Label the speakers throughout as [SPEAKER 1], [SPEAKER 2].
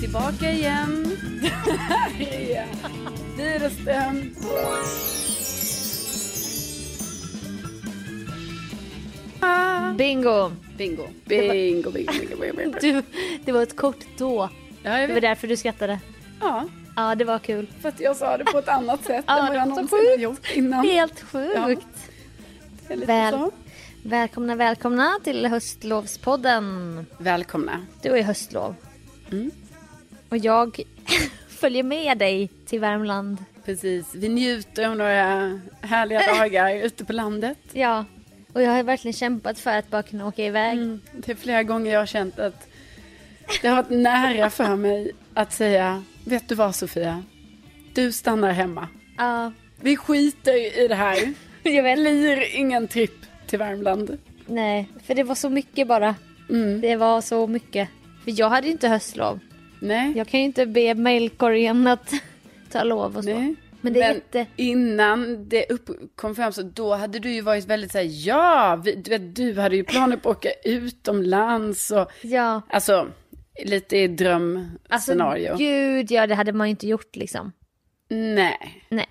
[SPEAKER 1] tillbaka igen. yeah. Dyresten. Ah.
[SPEAKER 2] Bingo!
[SPEAKER 1] Bingo. Bingo, bingo, bingo, bingo, bingo.
[SPEAKER 2] Du, det var ett kort då.
[SPEAKER 1] Ja, jag
[SPEAKER 2] Det var
[SPEAKER 1] vet.
[SPEAKER 2] därför du skrattade.
[SPEAKER 1] Ja,
[SPEAKER 2] Ja, det var kul.
[SPEAKER 1] för att jag sa det på ett annat sätt
[SPEAKER 2] Ja,
[SPEAKER 1] än vad
[SPEAKER 2] det
[SPEAKER 1] jag
[SPEAKER 2] var så
[SPEAKER 1] någonsin har gjort innan.
[SPEAKER 2] Helt sjukt.
[SPEAKER 1] Det är lite
[SPEAKER 2] Väl.
[SPEAKER 1] så.
[SPEAKER 2] Välkomna, välkomna till höstlovspodden.
[SPEAKER 1] Välkomna.
[SPEAKER 2] Du har ju höstlov.
[SPEAKER 1] Mm.
[SPEAKER 2] Och jag följer med dig till Värmland.
[SPEAKER 1] Precis, vi njuter av några härliga dagar ute på landet.
[SPEAKER 2] Ja. Och jag har verkligen kämpat för att bara kunna åka iväg.
[SPEAKER 1] Mm. Det är flera gånger jag har känt att det har varit nära för mig att säga, vet du vad Sofia? Du stannar hemma.
[SPEAKER 2] Ja,
[SPEAKER 1] Vi skiter i det här.
[SPEAKER 2] jag
[SPEAKER 1] Det
[SPEAKER 2] vet.
[SPEAKER 1] blir ingen tripp till Värmland.
[SPEAKER 2] Nej, för det var så mycket bara.
[SPEAKER 1] Mm.
[SPEAKER 2] Det var så mycket. För jag hade ju inte höstlov.
[SPEAKER 1] Nej.
[SPEAKER 2] Jag kan ju inte be mailkorgen att ta lov och så.
[SPEAKER 1] Nej.
[SPEAKER 2] Men det är jätte...
[SPEAKER 1] innan det upp- kom fram så då hade du ju varit väldigt så här, ja, vi, du, vet, du hade ju planer på att åka utomlands och
[SPEAKER 2] typ, Ja.
[SPEAKER 1] alltså lite i
[SPEAKER 2] Alltså
[SPEAKER 1] drömscenario.
[SPEAKER 2] gud ja, det hade man ju inte gjort liksom.
[SPEAKER 1] Nej.
[SPEAKER 2] Nej.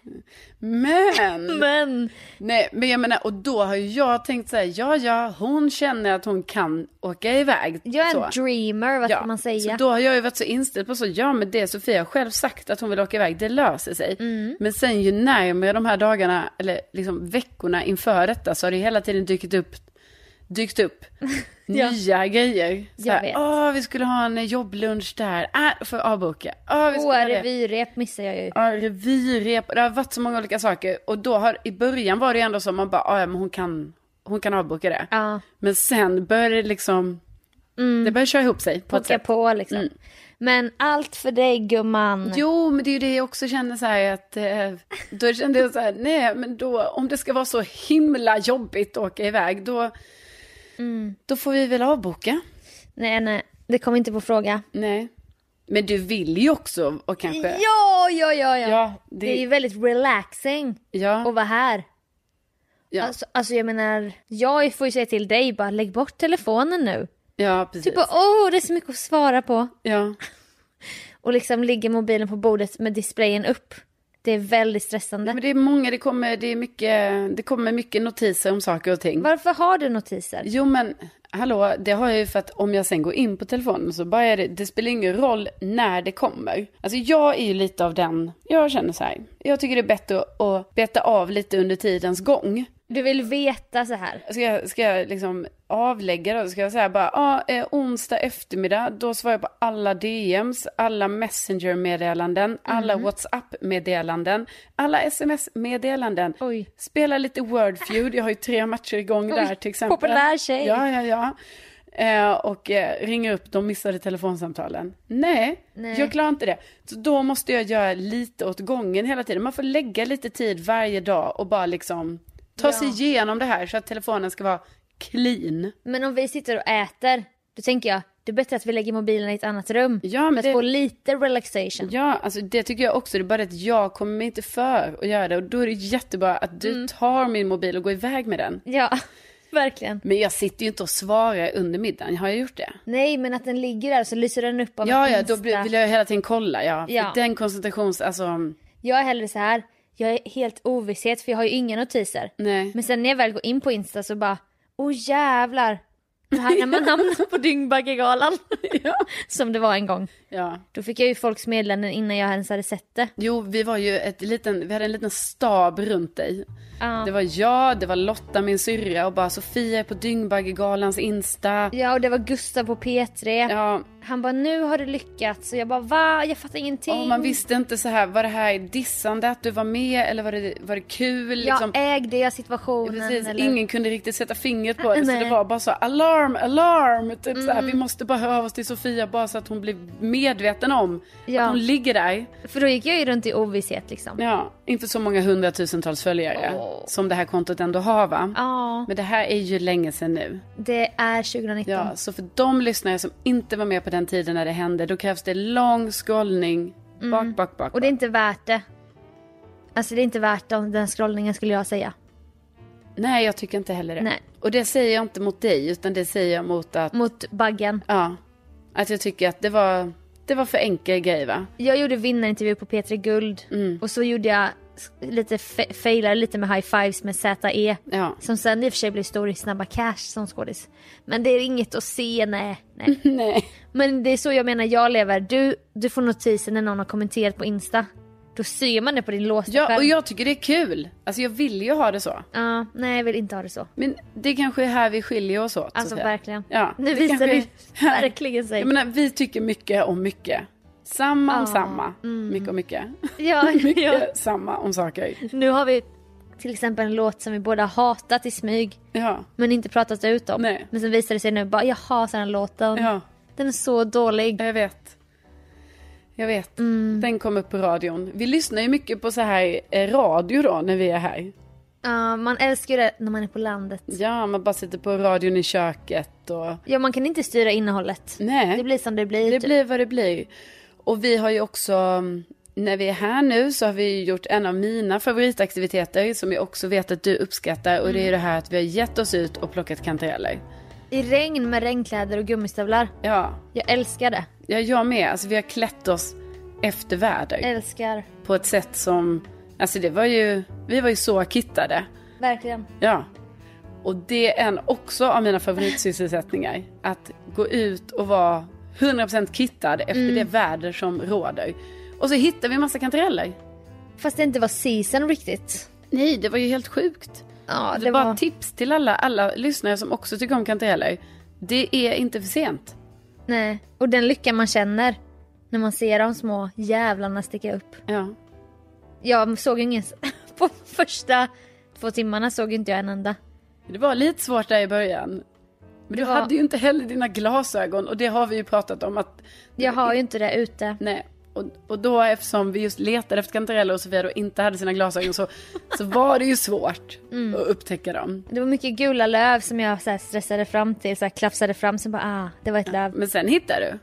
[SPEAKER 1] Men,
[SPEAKER 2] Men!
[SPEAKER 1] nej, men jag menar, och då har ju jag tänkt så här, ja, ja, hon känner att hon kan åka iväg.
[SPEAKER 2] Jag är
[SPEAKER 1] så.
[SPEAKER 2] en dreamer, vad ska man
[SPEAKER 1] Så
[SPEAKER 2] säga?
[SPEAKER 1] då har jag ju varit så inställd på så, ja men det Sofia har själv sagt att hon vill åka iväg, det löser sig.
[SPEAKER 2] Mm.
[SPEAKER 1] Men sen ju närmare de här dagarna, eller liksom veckorna inför detta så har det hela tiden dykt upp, dykt upp
[SPEAKER 2] Ja.
[SPEAKER 1] nya grejer. Så
[SPEAKER 2] Jag
[SPEAKER 1] här,
[SPEAKER 2] vet.
[SPEAKER 1] åh vi skulle ha en eh, jobblunch där, ah, får jag avboka. Åh, vi skulle
[SPEAKER 2] Åh,
[SPEAKER 1] ha det.
[SPEAKER 2] revyrep missar jag ju.
[SPEAKER 1] Ja, revirep. Det har varit så många olika saker. Och då har, i början var det ju ändå så, man bara, "Ah, ja men hon kan, hon kan avboka det.
[SPEAKER 2] Ja, Mm.
[SPEAKER 1] Men sen började det liksom, det började köra ihop sig på ett
[SPEAKER 2] pocka
[SPEAKER 1] sätt. Mm.
[SPEAKER 2] på liksom. Men allt för dig gumman.
[SPEAKER 1] Jo, men det är ju det jag också känner så här att eh, då kände jag så här, nej, men då om det ska vara så himla jobbigt att åka iväg, då,
[SPEAKER 2] Mm.
[SPEAKER 1] då får vi väl avboka.
[SPEAKER 2] Nej, nej, det kom inte på fråga.
[SPEAKER 1] Nej, men du vill ju också och kanske.
[SPEAKER 2] Ja, ja, ja, ja.
[SPEAKER 1] ja,
[SPEAKER 2] det... är ju väldigt relaxing
[SPEAKER 1] ja,
[SPEAKER 2] att vara här.
[SPEAKER 1] ja,
[SPEAKER 2] Alltså, alltså jag menar, jag får ju säga till dig bara lägg bort telefonen nu.
[SPEAKER 1] ja, precis.
[SPEAKER 2] Du bara åh, det är så mycket att svara på.
[SPEAKER 1] Ja,
[SPEAKER 2] Och liksom ligger mobilen på bordet med displayen upp. Det är väldigt stressande.
[SPEAKER 1] men det är många, det kommer, det är mycket, det kommer mycket notiser om saker och ting.
[SPEAKER 2] Varför har du notiser?
[SPEAKER 1] Jo men hallå, det har jag ju för att om jag sen går in på telefonen så bara är det, det spelar ingen roll när det kommer. Alltså jag är ju lite av den, jag känner så här. Jag tycker det är bättre att beta av lite under tidens gång.
[SPEAKER 2] Du vill veta så här.
[SPEAKER 1] Ska jag, ska jag liksom avlägga då? Ska jag säga bara, ja, eh, onsdag eftermiddag, då svarar jag på alla DMs, alla Messenger-meddelanden, alla WhatsApp-meddelanden, alla SMS-meddelanden.
[SPEAKER 2] Oj.
[SPEAKER 1] Spela lite Word Feud, jag har ju tre matcher igång där till exempel.
[SPEAKER 2] populär tjej.
[SPEAKER 1] Ja, ja, ja. Eh, och eh, ringer upp de missade telefonsamtalen. Nej,
[SPEAKER 2] Nej.
[SPEAKER 1] jag klarar inte det. Så då måste jag göra lite åt gången hela tiden. Man får lägga lite tid varje dag och bara liksom ta sig igenom det här så att telefonen ska vara clean.
[SPEAKER 2] Men om vi sitter och äter, då tänker jag det är bättre att vi lägger mobilen i ett annat rum.
[SPEAKER 1] Ja, men
[SPEAKER 2] för att
[SPEAKER 1] det-
[SPEAKER 2] få lite relaxation.
[SPEAKER 1] Ja, alltså det tycker jag också. Det är bara det att jag kommer mig inte för att göra det. Och då är det jättebra att du
[SPEAKER 2] Mm.
[SPEAKER 1] tar min mobil och går iväg med den.
[SPEAKER 2] Ja, verkligen.
[SPEAKER 1] Men jag sitter ju inte och svarar under middagen. Har jag gjort det?
[SPEAKER 2] Nej, men att den ligger där så lyser den upp av
[SPEAKER 1] Ja,
[SPEAKER 2] en
[SPEAKER 1] ja, då
[SPEAKER 2] Insta.
[SPEAKER 1] blir, vill jag hela tiden kolla. Ja. För
[SPEAKER 2] Ja.
[SPEAKER 1] Den koncentrations... Alltså,
[SPEAKER 2] Jag är hellre så här, jag är helt ovisshet för jag har ju inga notiser.
[SPEAKER 1] nej.
[SPEAKER 2] Men sen när jag väl går in på Insta så bara, åh jävlar. Det här när man hamnar på Dyngbaggegalan.
[SPEAKER 1] Ja.
[SPEAKER 2] Som det var en gång.
[SPEAKER 1] ja.
[SPEAKER 2] Då fick jag ju folks meddelanden innan jag ens hade sett det.
[SPEAKER 1] Jo, vi var ju ett liten, vi hade en liten stab runt dig.
[SPEAKER 2] Ja.
[SPEAKER 1] Det var jag, det var Lotta, min syrra och bara Sofia är på Dyngbaggegalans Insta.
[SPEAKER 2] Ja, och det var Gustav på P3.
[SPEAKER 1] Ja,
[SPEAKER 2] Han bara, nu har du lyckats. Och jag bara, va? Jag fattar ingenting.
[SPEAKER 1] och man visste inte så här, var det här dissande att du var med eller var det, var det kul? Liksom?
[SPEAKER 2] Jag ägde jag situationen.
[SPEAKER 1] Precis,
[SPEAKER 2] eller...
[SPEAKER 1] ingen kunde riktigt sätta fingret på det så
[SPEAKER 2] Nej. Mm.
[SPEAKER 1] det var bara så alarm, alarm. Typ så här, vi måste bara höra av oss till Sofia bara så att hon blir medveten om
[SPEAKER 2] Ja.
[SPEAKER 1] att hon ligger där.
[SPEAKER 2] För då gick jag ju runt i ovisshet liksom.
[SPEAKER 1] Ja, inte så många hundratusentals följare
[SPEAKER 2] Åh.
[SPEAKER 1] som det här kontot ändå har va?
[SPEAKER 2] Ja,
[SPEAKER 1] Men det här är ju länge sedan nu.
[SPEAKER 2] det är 2019.
[SPEAKER 1] Ja, så för de lyssnare som inte var med på den tiden när det hände, då krävs det lång scrollning bak, bak, bak.
[SPEAKER 2] Mm. Och det är
[SPEAKER 1] bak.
[SPEAKER 2] inte värt det. Alltså det är inte värt den, den scrollningen skulle jag säga.
[SPEAKER 1] Nej, jag tycker inte heller det.
[SPEAKER 2] Nej. Mm.
[SPEAKER 1] Och det säger jag inte mot dig, utan det säger jag mot att,
[SPEAKER 2] Mot baggen.
[SPEAKER 1] ja, att jag tycker att det var, Det var för enkel grej va?
[SPEAKER 2] Jag gjorde vinnarintervju på P3 Guld
[SPEAKER 1] Mm.
[SPEAKER 2] och så gjorde jag s- lite, fe- failade lite med high fives med E. ZE.
[SPEAKER 1] Ja.
[SPEAKER 2] Som sen i och för sig blev stor i Snabba Cash som skådis. Men det är inget att se, nej. nej.
[SPEAKER 1] Nej.
[SPEAKER 2] Men det är så jag menar jag lever. Du, du får notisen när någon har kommenterat på Insta. Då ser man det på din låsta
[SPEAKER 1] Ja, och
[SPEAKER 2] skärm.
[SPEAKER 1] jag tycker det är kul. Alltså jag vill ju ha det så.
[SPEAKER 2] Ja, nej jag vill inte ha det så.
[SPEAKER 1] Men det kanske är här vi skiljer oss åt.
[SPEAKER 2] Alltså
[SPEAKER 1] Sofia.
[SPEAKER 2] verkligen.
[SPEAKER 1] Ja,
[SPEAKER 2] nu
[SPEAKER 1] det
[SPEAKER 2] visar du
[SPEAKER 1] kanske-
[SPEAKER 2] verkligen sig.
[SPEAKER 1] Jag menar, vi tycker mycket om mycket. Samma om
[SPEAKER 2] Ja,
[SPEAKER 1] samma. Mycket om mycket.
[SPEAKER 2] Ja, ja.
[SPEAKER 1] Mycket samma om saker.
[SPEAKER 2] Nu har vi till exempel en låt som vi båda hatat i smyg.
[SPEAKER 1] Ja,
[SPEAKER 2] Men inte pratat ut om.
[SPEAKER 1] Nej.
[SPEAKER 2] Men sen visar det sig nu bara jag hatar den låten.
[SPEAKER 1] ja,
[SPEAKER 2] Den är så dålig.
[SPEAKER 1] jag vet. Jag vet.
[SPEAKER 2] Mm.
[SPEAKER 1] Den kom upp på radion. Vi lyssnar ju mycket på så här eh, radio då när vi är här.
[SPEAKER 2] Ja, man älskar ju det när man är på landet.
[SPEAKER 1] Ja, man bara sitter på radion i köket och
[SPEAKER 2] Ja man kan inte styra innehållet.
[SPEAKER 1] nej.
[SPEAKER 2] Det blir som det blir.
[SPEAKER 1] Mm. Det
[SPEAKER 2] typ.
[SPEAKER 1] blir vad det blir. Och vi har ju också, mm, när vi är här nu så har vi ju gjort en av mina favoritaktiviteter som jag också vet att du uppskattar och det är
[SPEAKER 2] Mm.
[SPEAKER 1] ju det här att vi har gett oss ut och plockat kantareller.
[SPEAKER 2] I regn med regnkläder och gummistövlar.
[SPEAKER 1] Ja,
[SPEAKER 2] Jag älskar det.
[SPEAKER 1] ja jag med. Alltså vi har klätt oss efter väder
[SPEAKER 2] Älskar.
[SPEAKER 1] på ett sätt som, alltså det var ju, vi var ju så kittade.
[SPEAKER 2] Verkligen.
[SPEAKER 1] Ja. Och det är en också av mina favoritsysselsättningar. Att gå ut och vara 100% kittad efter det väder som råder. Och så hittar vi en massa kantareller.
[SPEAKER 2] Fast det inte var season riktigt.
[SPEAKER 1] Nej, det var ju helt sjukt.
[SPEAKER 2] Ja
[SPEAKER 1] det
[SPEAKER 2] det
[SPEAKER 1] Bara
[SPEAKER 2] var...
[SPEAKER 1] tips till alla, alla lyssnare som också tycker om kantareller. Det är inte för sent.
[SPEAKER 2] Nej. Och den lycka man känner. När man ser de små jävlarna sticka upp.
[SPEAKER 1] Ja.
[SPEAKER 2] Jag såg ju ingen... På första två timmarna såg ju inte jag en enda.
[SPEAKER 1] Det var lite svårt där i början. Men du
[SPEAKER 2] var-
[SPEAKER 1] hade ju inte heller dina glasögon och det har vi ju pratat om att...
[SPEAKER 2] Jag har ju inte det ute.
[SPEAKER 1] Nej. Och, och då eftersom vi just letade efter kantareller och Sofia då inte hade sina glasögon så, så var det ju svårt att upptäcka dem.
[SPEAKER 2] Det var mycket gula löv som jag så här stressade fram till, så här klafsade fram, sen bara ah, det var ett löv.
[SPEAKER 1] Men sen hittade du.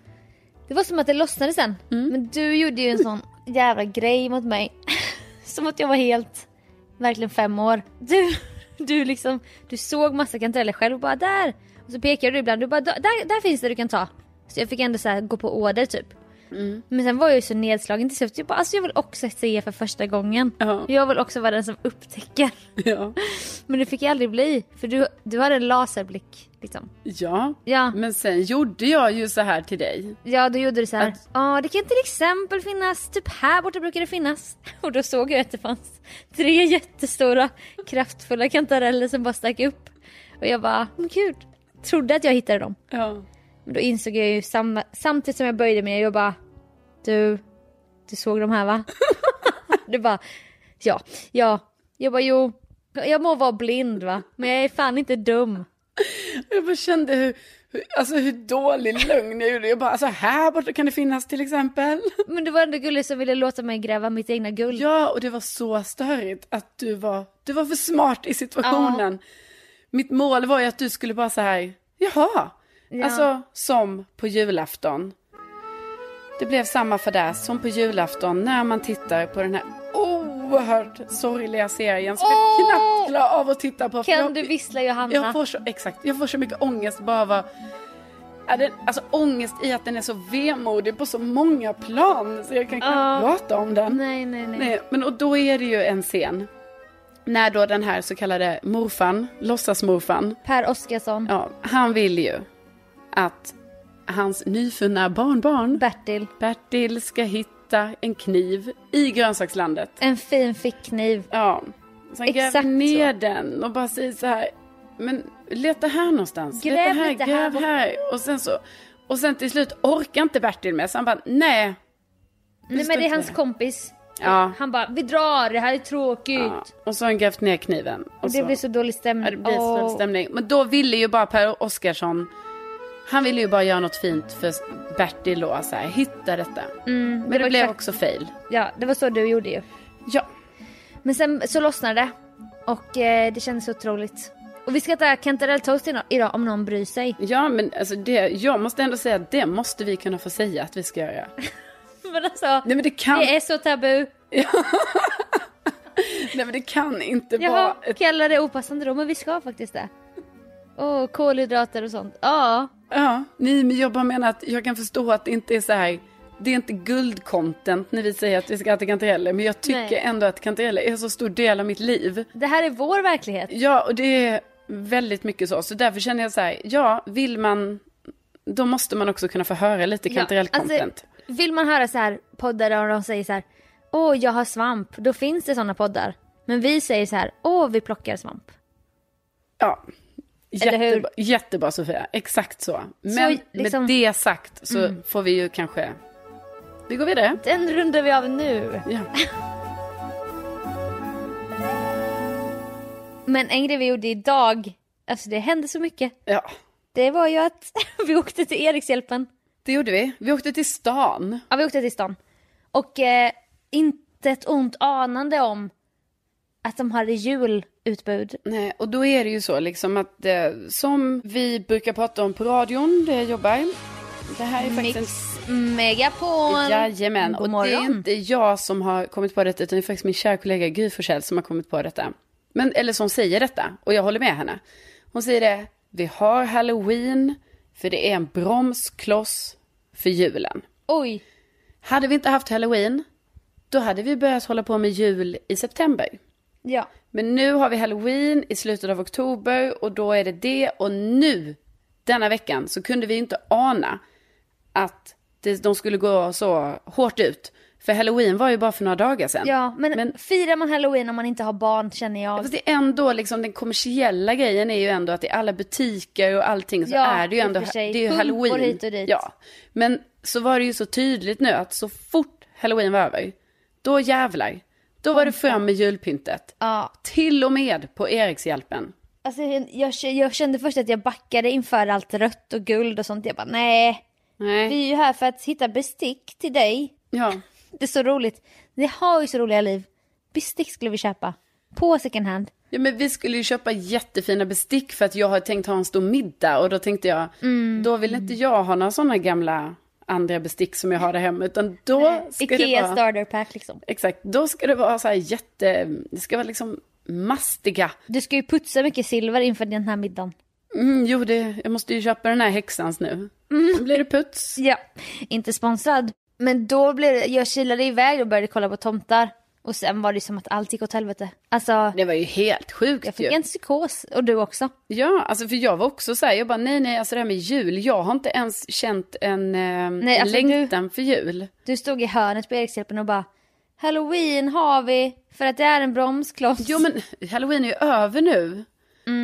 [SPEAKER 2] Det var som att det lossnade sen. Men du gjorde ju en sån jävla grej mot mig. som att jag var helt, verkligen fem år. Du, du liksom, du såg massa kantareller själv och bara där. Och så pekade du ibland, du bara där, där finns det du kan ta. Så jag fick ändå så här gå på order typ. Men sen var jag ju så nedslagen till slut. Jag bara, alltså jag vill också se för första gången.
[SPEAKER 1] Ja.
[SPEAKER 2] Jag vill också vara den som upptäcker.
[SPEAKER 1] Ja.
[SPEAKER 2] Men det fick jag aldrig bli, för du, du hade en laserblick. Liksom.
[SPEAKER 1] ja.
[SPEAKER 2] Ja,
[SPEAKER 1] Men sen gjorde jag ju så här till dig.
[SPEAKER 2] ja, då gjorde du så här.
[SPEAKER 1] Att-
[SPEAKER 2] Ja, det kan till exempel finnas, typ här borta brukar det finnas. Och då såg jag att det fanns tre jättestora kraftfulla kantareller som bara stack upp. Och jag bara, men gud. Trodde att jag hittade dem.
[SPEAKER 1] Ja.
[SPEAKER 2] Men då insåg jag ju sam- samtidigt som jag böjde mig, jag bara, du, du såg de här va? du bara, ja, ja. Jag bara, jo, jag må vara blind va, men jag är fan inte dum.
[SPEAKER 1] Jag bara kände hur, hur, alltså hur dålig lögn jag gjorde. Jag bara, alltså här borta kan det finnas till exempel.
[SPEAKER 2] Men det var ändå gulligt som ville låta mig gräva mitt egna guld.
[SPEAKER 1] Ja, och det var så störigt att du var, du var för smart i situationen. Mitt mål var ju att du skulle bara så här, jaha.
[SPEAKER 2] Ja.
[SPEAKER 1] Alltså som på julafton. Det blev samma för det som på julafton när man tittar på den här oerhört sorgliga serien som jag
[SPEAKER 2] Åh!
[SPEAKER 1] knappt klarar av att titta på. för
[SPEAKER 2] Kan
[SPEAKER 1] jag-
[SPEAKER 2] du vissla Johanna?
[SPEAKER 1] jag får så, exakt, jag får så mycket ångest bara av att- ja, den, Alltså ångest i att den är så vemodig på så många plan så jag kan knappt
[SPEAKER 2] Ja.
[SPEAKER 1] prata om den.
[SPEAKER 2] Nej, nej, nej.
[SPEAKER 1] Nej, men och då är det ju en scen när då den här så kallade morfan, låtsasmorfan,
[SPEAKER 2] Per Oskarsson,
[SPEAKER 1] ja, han vill ju att hans nyfunna barnbarn
[SPEAKER 2] Bertil,
[SPEAKER 1] Bertil ska hitta en kniv i grönsakslandet.
[SPEAKER 2] en fin fickkniv.
[SPEAKER 1] Ja. Så han
[SPEAKER 2] Exakt
[SPEAKER 1] gräver ner
[SPEAKER 2] så.
[SPEAKER 1] den och bara säger så här. Men leta här någonstans.
[SPEAKER 2] Gräv
[SPEAKER 1] leta här,
[SPEAKER 2] lite här
[SPEAKER 1] gräv här.
[SPEAKER 2] borta."
[SPEAKER 1] Och sen så. Och sen till slut orkar inte Bertil med. Så han bara, nej.
[SPEAKER 2] Nej men
[SPEAKER 1] står
[SPEAKER 2] det är
[SPEAKER 1] inte
[SPEAKER 2] hans
[SPEAKER 1] där.
[SPEAKER 2] kompis.
[SPEAKER 1] Ja.
[SPEAKER 2] Han bara, vi drar, det här är tråkigt.
[SPEAKER 1] ja. Och så har han grävt ner kniven.
[SPEAKER 2] Och
[SPEAKER 1] Och
[SPEAKER 2] det
[SPEAKER 1] så,
[SPEAKER 2] blir så dålig stämning.
[SPEAKER 1] ja, det blir
[SPEAKER 2] Åh.
[SPEAKER 1] så stämning. Men då ville ju bara Per Oscarsson. Han ville ju bara göra något fint för Bertil då. Så här, hitta detta. Men det,
[SPEAKER 2] Mm, var
[SPEAKER 1] blev
[SPEAKER 2] exakt-
[SPEAKER 1] också fail.
[SPEAKER 2] Ja, det var så du gjorde ju.
[SPEAKER 1] Ja.
[SPEAKER 2] Men sen så lossnade det. Och eh, det kändes otroligt. Och vi ska äta kantarelltoast ino- idag om någon bryr sig.
[SPEAKER 1] Ja men alltså det, jag måste ändå säga att det måste vi kunna få säga att vi ska göra.
[SPEAKER 2] Men alltså,
[SPEAKER 1] Nej men det kan
[SPEAKER 2] det är så tabu.
[SPEAKER 1] Nej men det kan inte
[SPEAKER 2] Jaha,
[SPEAKER 1] vara ett...
[SPEAKER 2] kallar det opassande då, men vi ska faktiskt det. Och kolhydrater och sånt. Ja,
[SPEAKER 1] Ja, nej men jag bara menar att jag kan förstå att det inte är så här det är inte guldcontent när vi säger att vi ska äta kantareller men jag tycker
[SPEAKER 2] Nej.
[SPEAKER 1] ändå att kantareller är en så stor del av mitt liv.
[SPEAKER 2] Det här är vår verklighet.
[SPEAKER 1] Ja, och det är väldigt mycket så. Så därför känner jag så här, ja, vill man, då måste man också kunna få höra lite kantarellcontent.
[SPEAKER 2] alltså, vill man höra så här poddar där de säger så här Åh, jag har svamp. Då finns det sådana poddar. Men vi säger så här Åh, vi plockar svamp.
[SPEAKER 1] Ja.
[SPEAKER 2] Eller hur?
[SPEAKER 1] Jättebra, jättebra Sofia, exakt så. Men
[SPEAKER 2] liksom- Mm.
[SPEAKER 1] med det sagt så får vi ju kanske... Vi går vidare.
[SPEAKER 2] Den rundar vi av nu.
[SPEAKER 1] Ja.
[SPEAKER 2] Men en grej vi gjorde idag, alltså det hände så mycket.
[SPEAKER 1] ja,
[SPEAKER 2] Det var ju att vi åkte till Erikshjälpen.
[SPEAKER 1] det gjorde vi. Vi åkte till stan.
[SPEAKER 2] Ja, vi åkte till stan. Och eh, inte ett ont anande om att de hade julutbud.
[SPEAKER 1] Nej, och då är det ju så liksom att eh, som vi brukar prata om på radion, det jag jobbar. Det här är faktiskt en
[SPEAKER 2] Mix Megapol!
[SPEAKER 1] Jajamän,
[SPEAKER 2] God
[SPEAKER 1] och det är
[SPEAKER 2] morgon.
[SPEAKER 1] inte jag som har kommit på detta utan det är faktiskt min kära kollega Gry Forssell som har kommit på detta. Men, eller som säger detta, och jag håller med henne. Hon säger det, vi har halloween för det är en bromskloss för julen.
[SPEAKER 2] Oj,
[SPEAKER 1] Hade vi inte haft halloween, då hade vi börjat hålla på med jul i september.
[SPEAKER 2] ja.
[SPEAKER 1] Men nu har vi halloween i slutet av oktober och då är det det. Och nu, denna veckan, så kunde vi ju inte ana att det, de skulle gå så hårt ut. För halloween var ju bara för några dagar sedan.
[SPEAKER 2] Ja, men,
[SPEAKER 1] Men-
[SPEAKER 2] firar man halloween om man inte har barn känner jag.
[SPEAKER 1] Fast det är ändå liksom den kommersiella grejen är ju ändå att i alla butiker och allting så
[SPEAKER 2] Ja,
[SPEAKER 1] är det ju
[SPEAKER 2] i och
[SPEAKER 1] ändå
[SPEAKER 2] för sig.
[SPEAKER 1] det är ju
[SPEAKER 2] Pumpor
[SPEAKER 1] halloween.
[SPEAKER 2] hit och dit.
[SPEAKER 1] Ja. Men så var det ju så tydligt nu att så fort halloween var över, då jävlar, då var det fram med julpyntet.
[SPEAKER 2] Ja,
[SPEAKER 1] Till och med på Erikshjälpen.
[SPEAKER 2] alltså jag, jag, jag kände först att jag backade inför allt rött och guld och sånt. Jag bara nej,
[SPEAKER 1] Nej.
[SPEAKER 2] vi är ju här för att hitta bestick till dig.
[SPEAKER 1] Ja.
[SPEAKER 2] Det är så roligt. Ni har ju så roliga liv. Bestick skulle vi köpa. På second hand.
[SPEAKER 1] ja, men vi skulle ju köpa jättefina bestick för att jag har tänkt ha en stor middag och då tänkte jag,
[SPEAKER 2] Mm.
[SPEAKER 1] då vill inte jag ha några sådana gamla andra bestick som jag har där hemma utan då ska det
[SPEAKER 2] Ikea
[SPEAKER 1] vara...
[SPEAKER 2] starter pack liksom.
[SPEAKER 1] Exakt, då ska det vara så här jätte... Det ska vara liksom mastiga.
[SPEAKER 2] Du ska ju putsa mycket silver inför den här middagen.
[SPEAKER 1] Mm, jo, det, jag måste ju köpa den här häxans nu. Mm. Blir det puts?
[SPEAKER 2] Ja, inte sponsrad. Men då blev det, jag kilade iväg och började kolla på tomtar. Och sen var det som att allt gick åt helvete. Alltså,
[SPEAKER 1] Det var ju helt sjukt
[SPEAKER 2] jag fick
[SPEAKER 1] ju.
[SPEAKER 2] en psykos. Och du också.
[SPEAKER 1] Ja, alltså för jag var också så här, jag bara nej, nej, alltså det här med jul, jag har inte ens känt en eh,
[SPEAKER 2] Nej, alltså du-
[SPEAKER 1] längtan för jul.
[SPEAKER 2] Du stod i hörnet på Erikshjälpen och bara Halloween har vi för att det är en bromskloss.
[SPEAKER 1] Jo men halloween är ju över nu.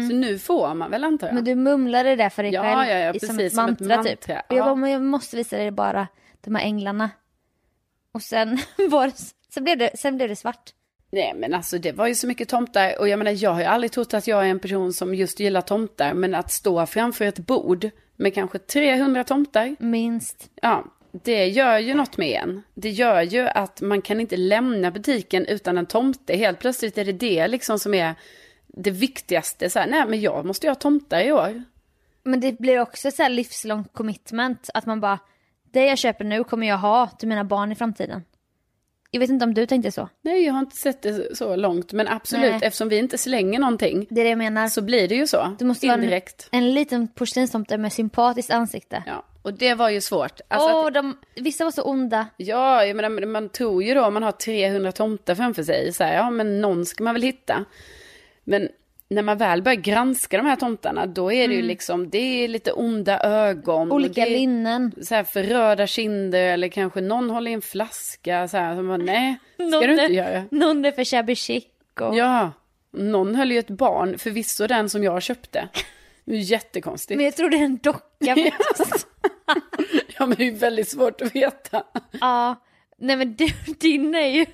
[SPEAKER 1] Så nu får man väl antar jag.
[SPEAKER 2] Mm. Men du mumlade det för dig
[SPEAKER 1] Ja,
[SPEAKER 2] själv
[SPEAKER 1] ja, ja,
[SPEAKER 2] i- som,
[SPEAKER 1] precis,
[SPEAKER 2] ett mantra, typ.
[SPEAKER 1] mantra,
[SPEAKER 2] Och jag
[SPEAKER 1] ja.
[SPEAKER 2] bara, men jag måste visa dig bara de här änglarna. Och sen, var, det- sen, blev, det, sen blev det svart.
[SPEAKER 1] Nej men alltså det var ju så mycket tomtar och jag menar jag har ju aldrig trott att jag är en person som just gillar tomtar men att stå framför ett bord med kanske 300 tomtar,
[SPEAKER 2] Minst.
[SPEAKER 1] ja det gör ju något med en. Det gör ju att man kan inte lämna butiken utan en tomte. Helt plötsligt är det det liksom som är det viktigaste. Så här, nej men jag måste ju ha tomtar i år.
[SPEAKER 2] Men det blir också så här livslång commitment. Att man bara, det jag köper nu kommer jag ha till mina barn i framtiden. Jag vet inte om du tänkte så.
[SPEAKER 1] Nej jag har inte sett det så långt men absolut
[SPEAKER 2] Nej.
[SPEAKER 1] eftersom vi inte slänger någonting
[SPEAKER 2] Det är det jag menar.
[SPEAKER 1] så blir det ju så.
[SPEAKER 2] Du måste vara en-
[SPEAKER 1] Indirekt.
[SPEAKER 2] En liten porslinstomte med sympatiskt ansikte.
[SPEAKER 1] Ja, och det var ju svårt. Alltså att-
[SPEAKER 2] Åh, de, vissa var så onda.
[SPEAKER 1] Ja, jag menar, man tror ju då om man har 300 tomtar framför sig, så här, ja men någon ska man väl hitta. Men när man väl börjar granska de här tomtarna, då är det ju liksom, det är lite onda ögon. och
[SPEAKER 2] Mm. Olika
[SPEAKER 1] det är
[SPEAKER 2] linnen.
[SPEAKER 1] Så här förröda kinder eller kanske någon håller i en flaska så här, så man, nej, ska du inte göra.
[SPEAKER 2] Någon är för shabby chic. Och...
[SPEAKER 1] Ja, någon höll ju ett barn, förvisso den som jag köpte. Det är ju jättekonstigt.
[SPEAKER 2] Men jag tror det är en docka faktiskt.
[SPEAKER 1] Ja, men det är ju väldigt svårt att veta.
[SPEAKER 2] ja. Nej men du, din är ju...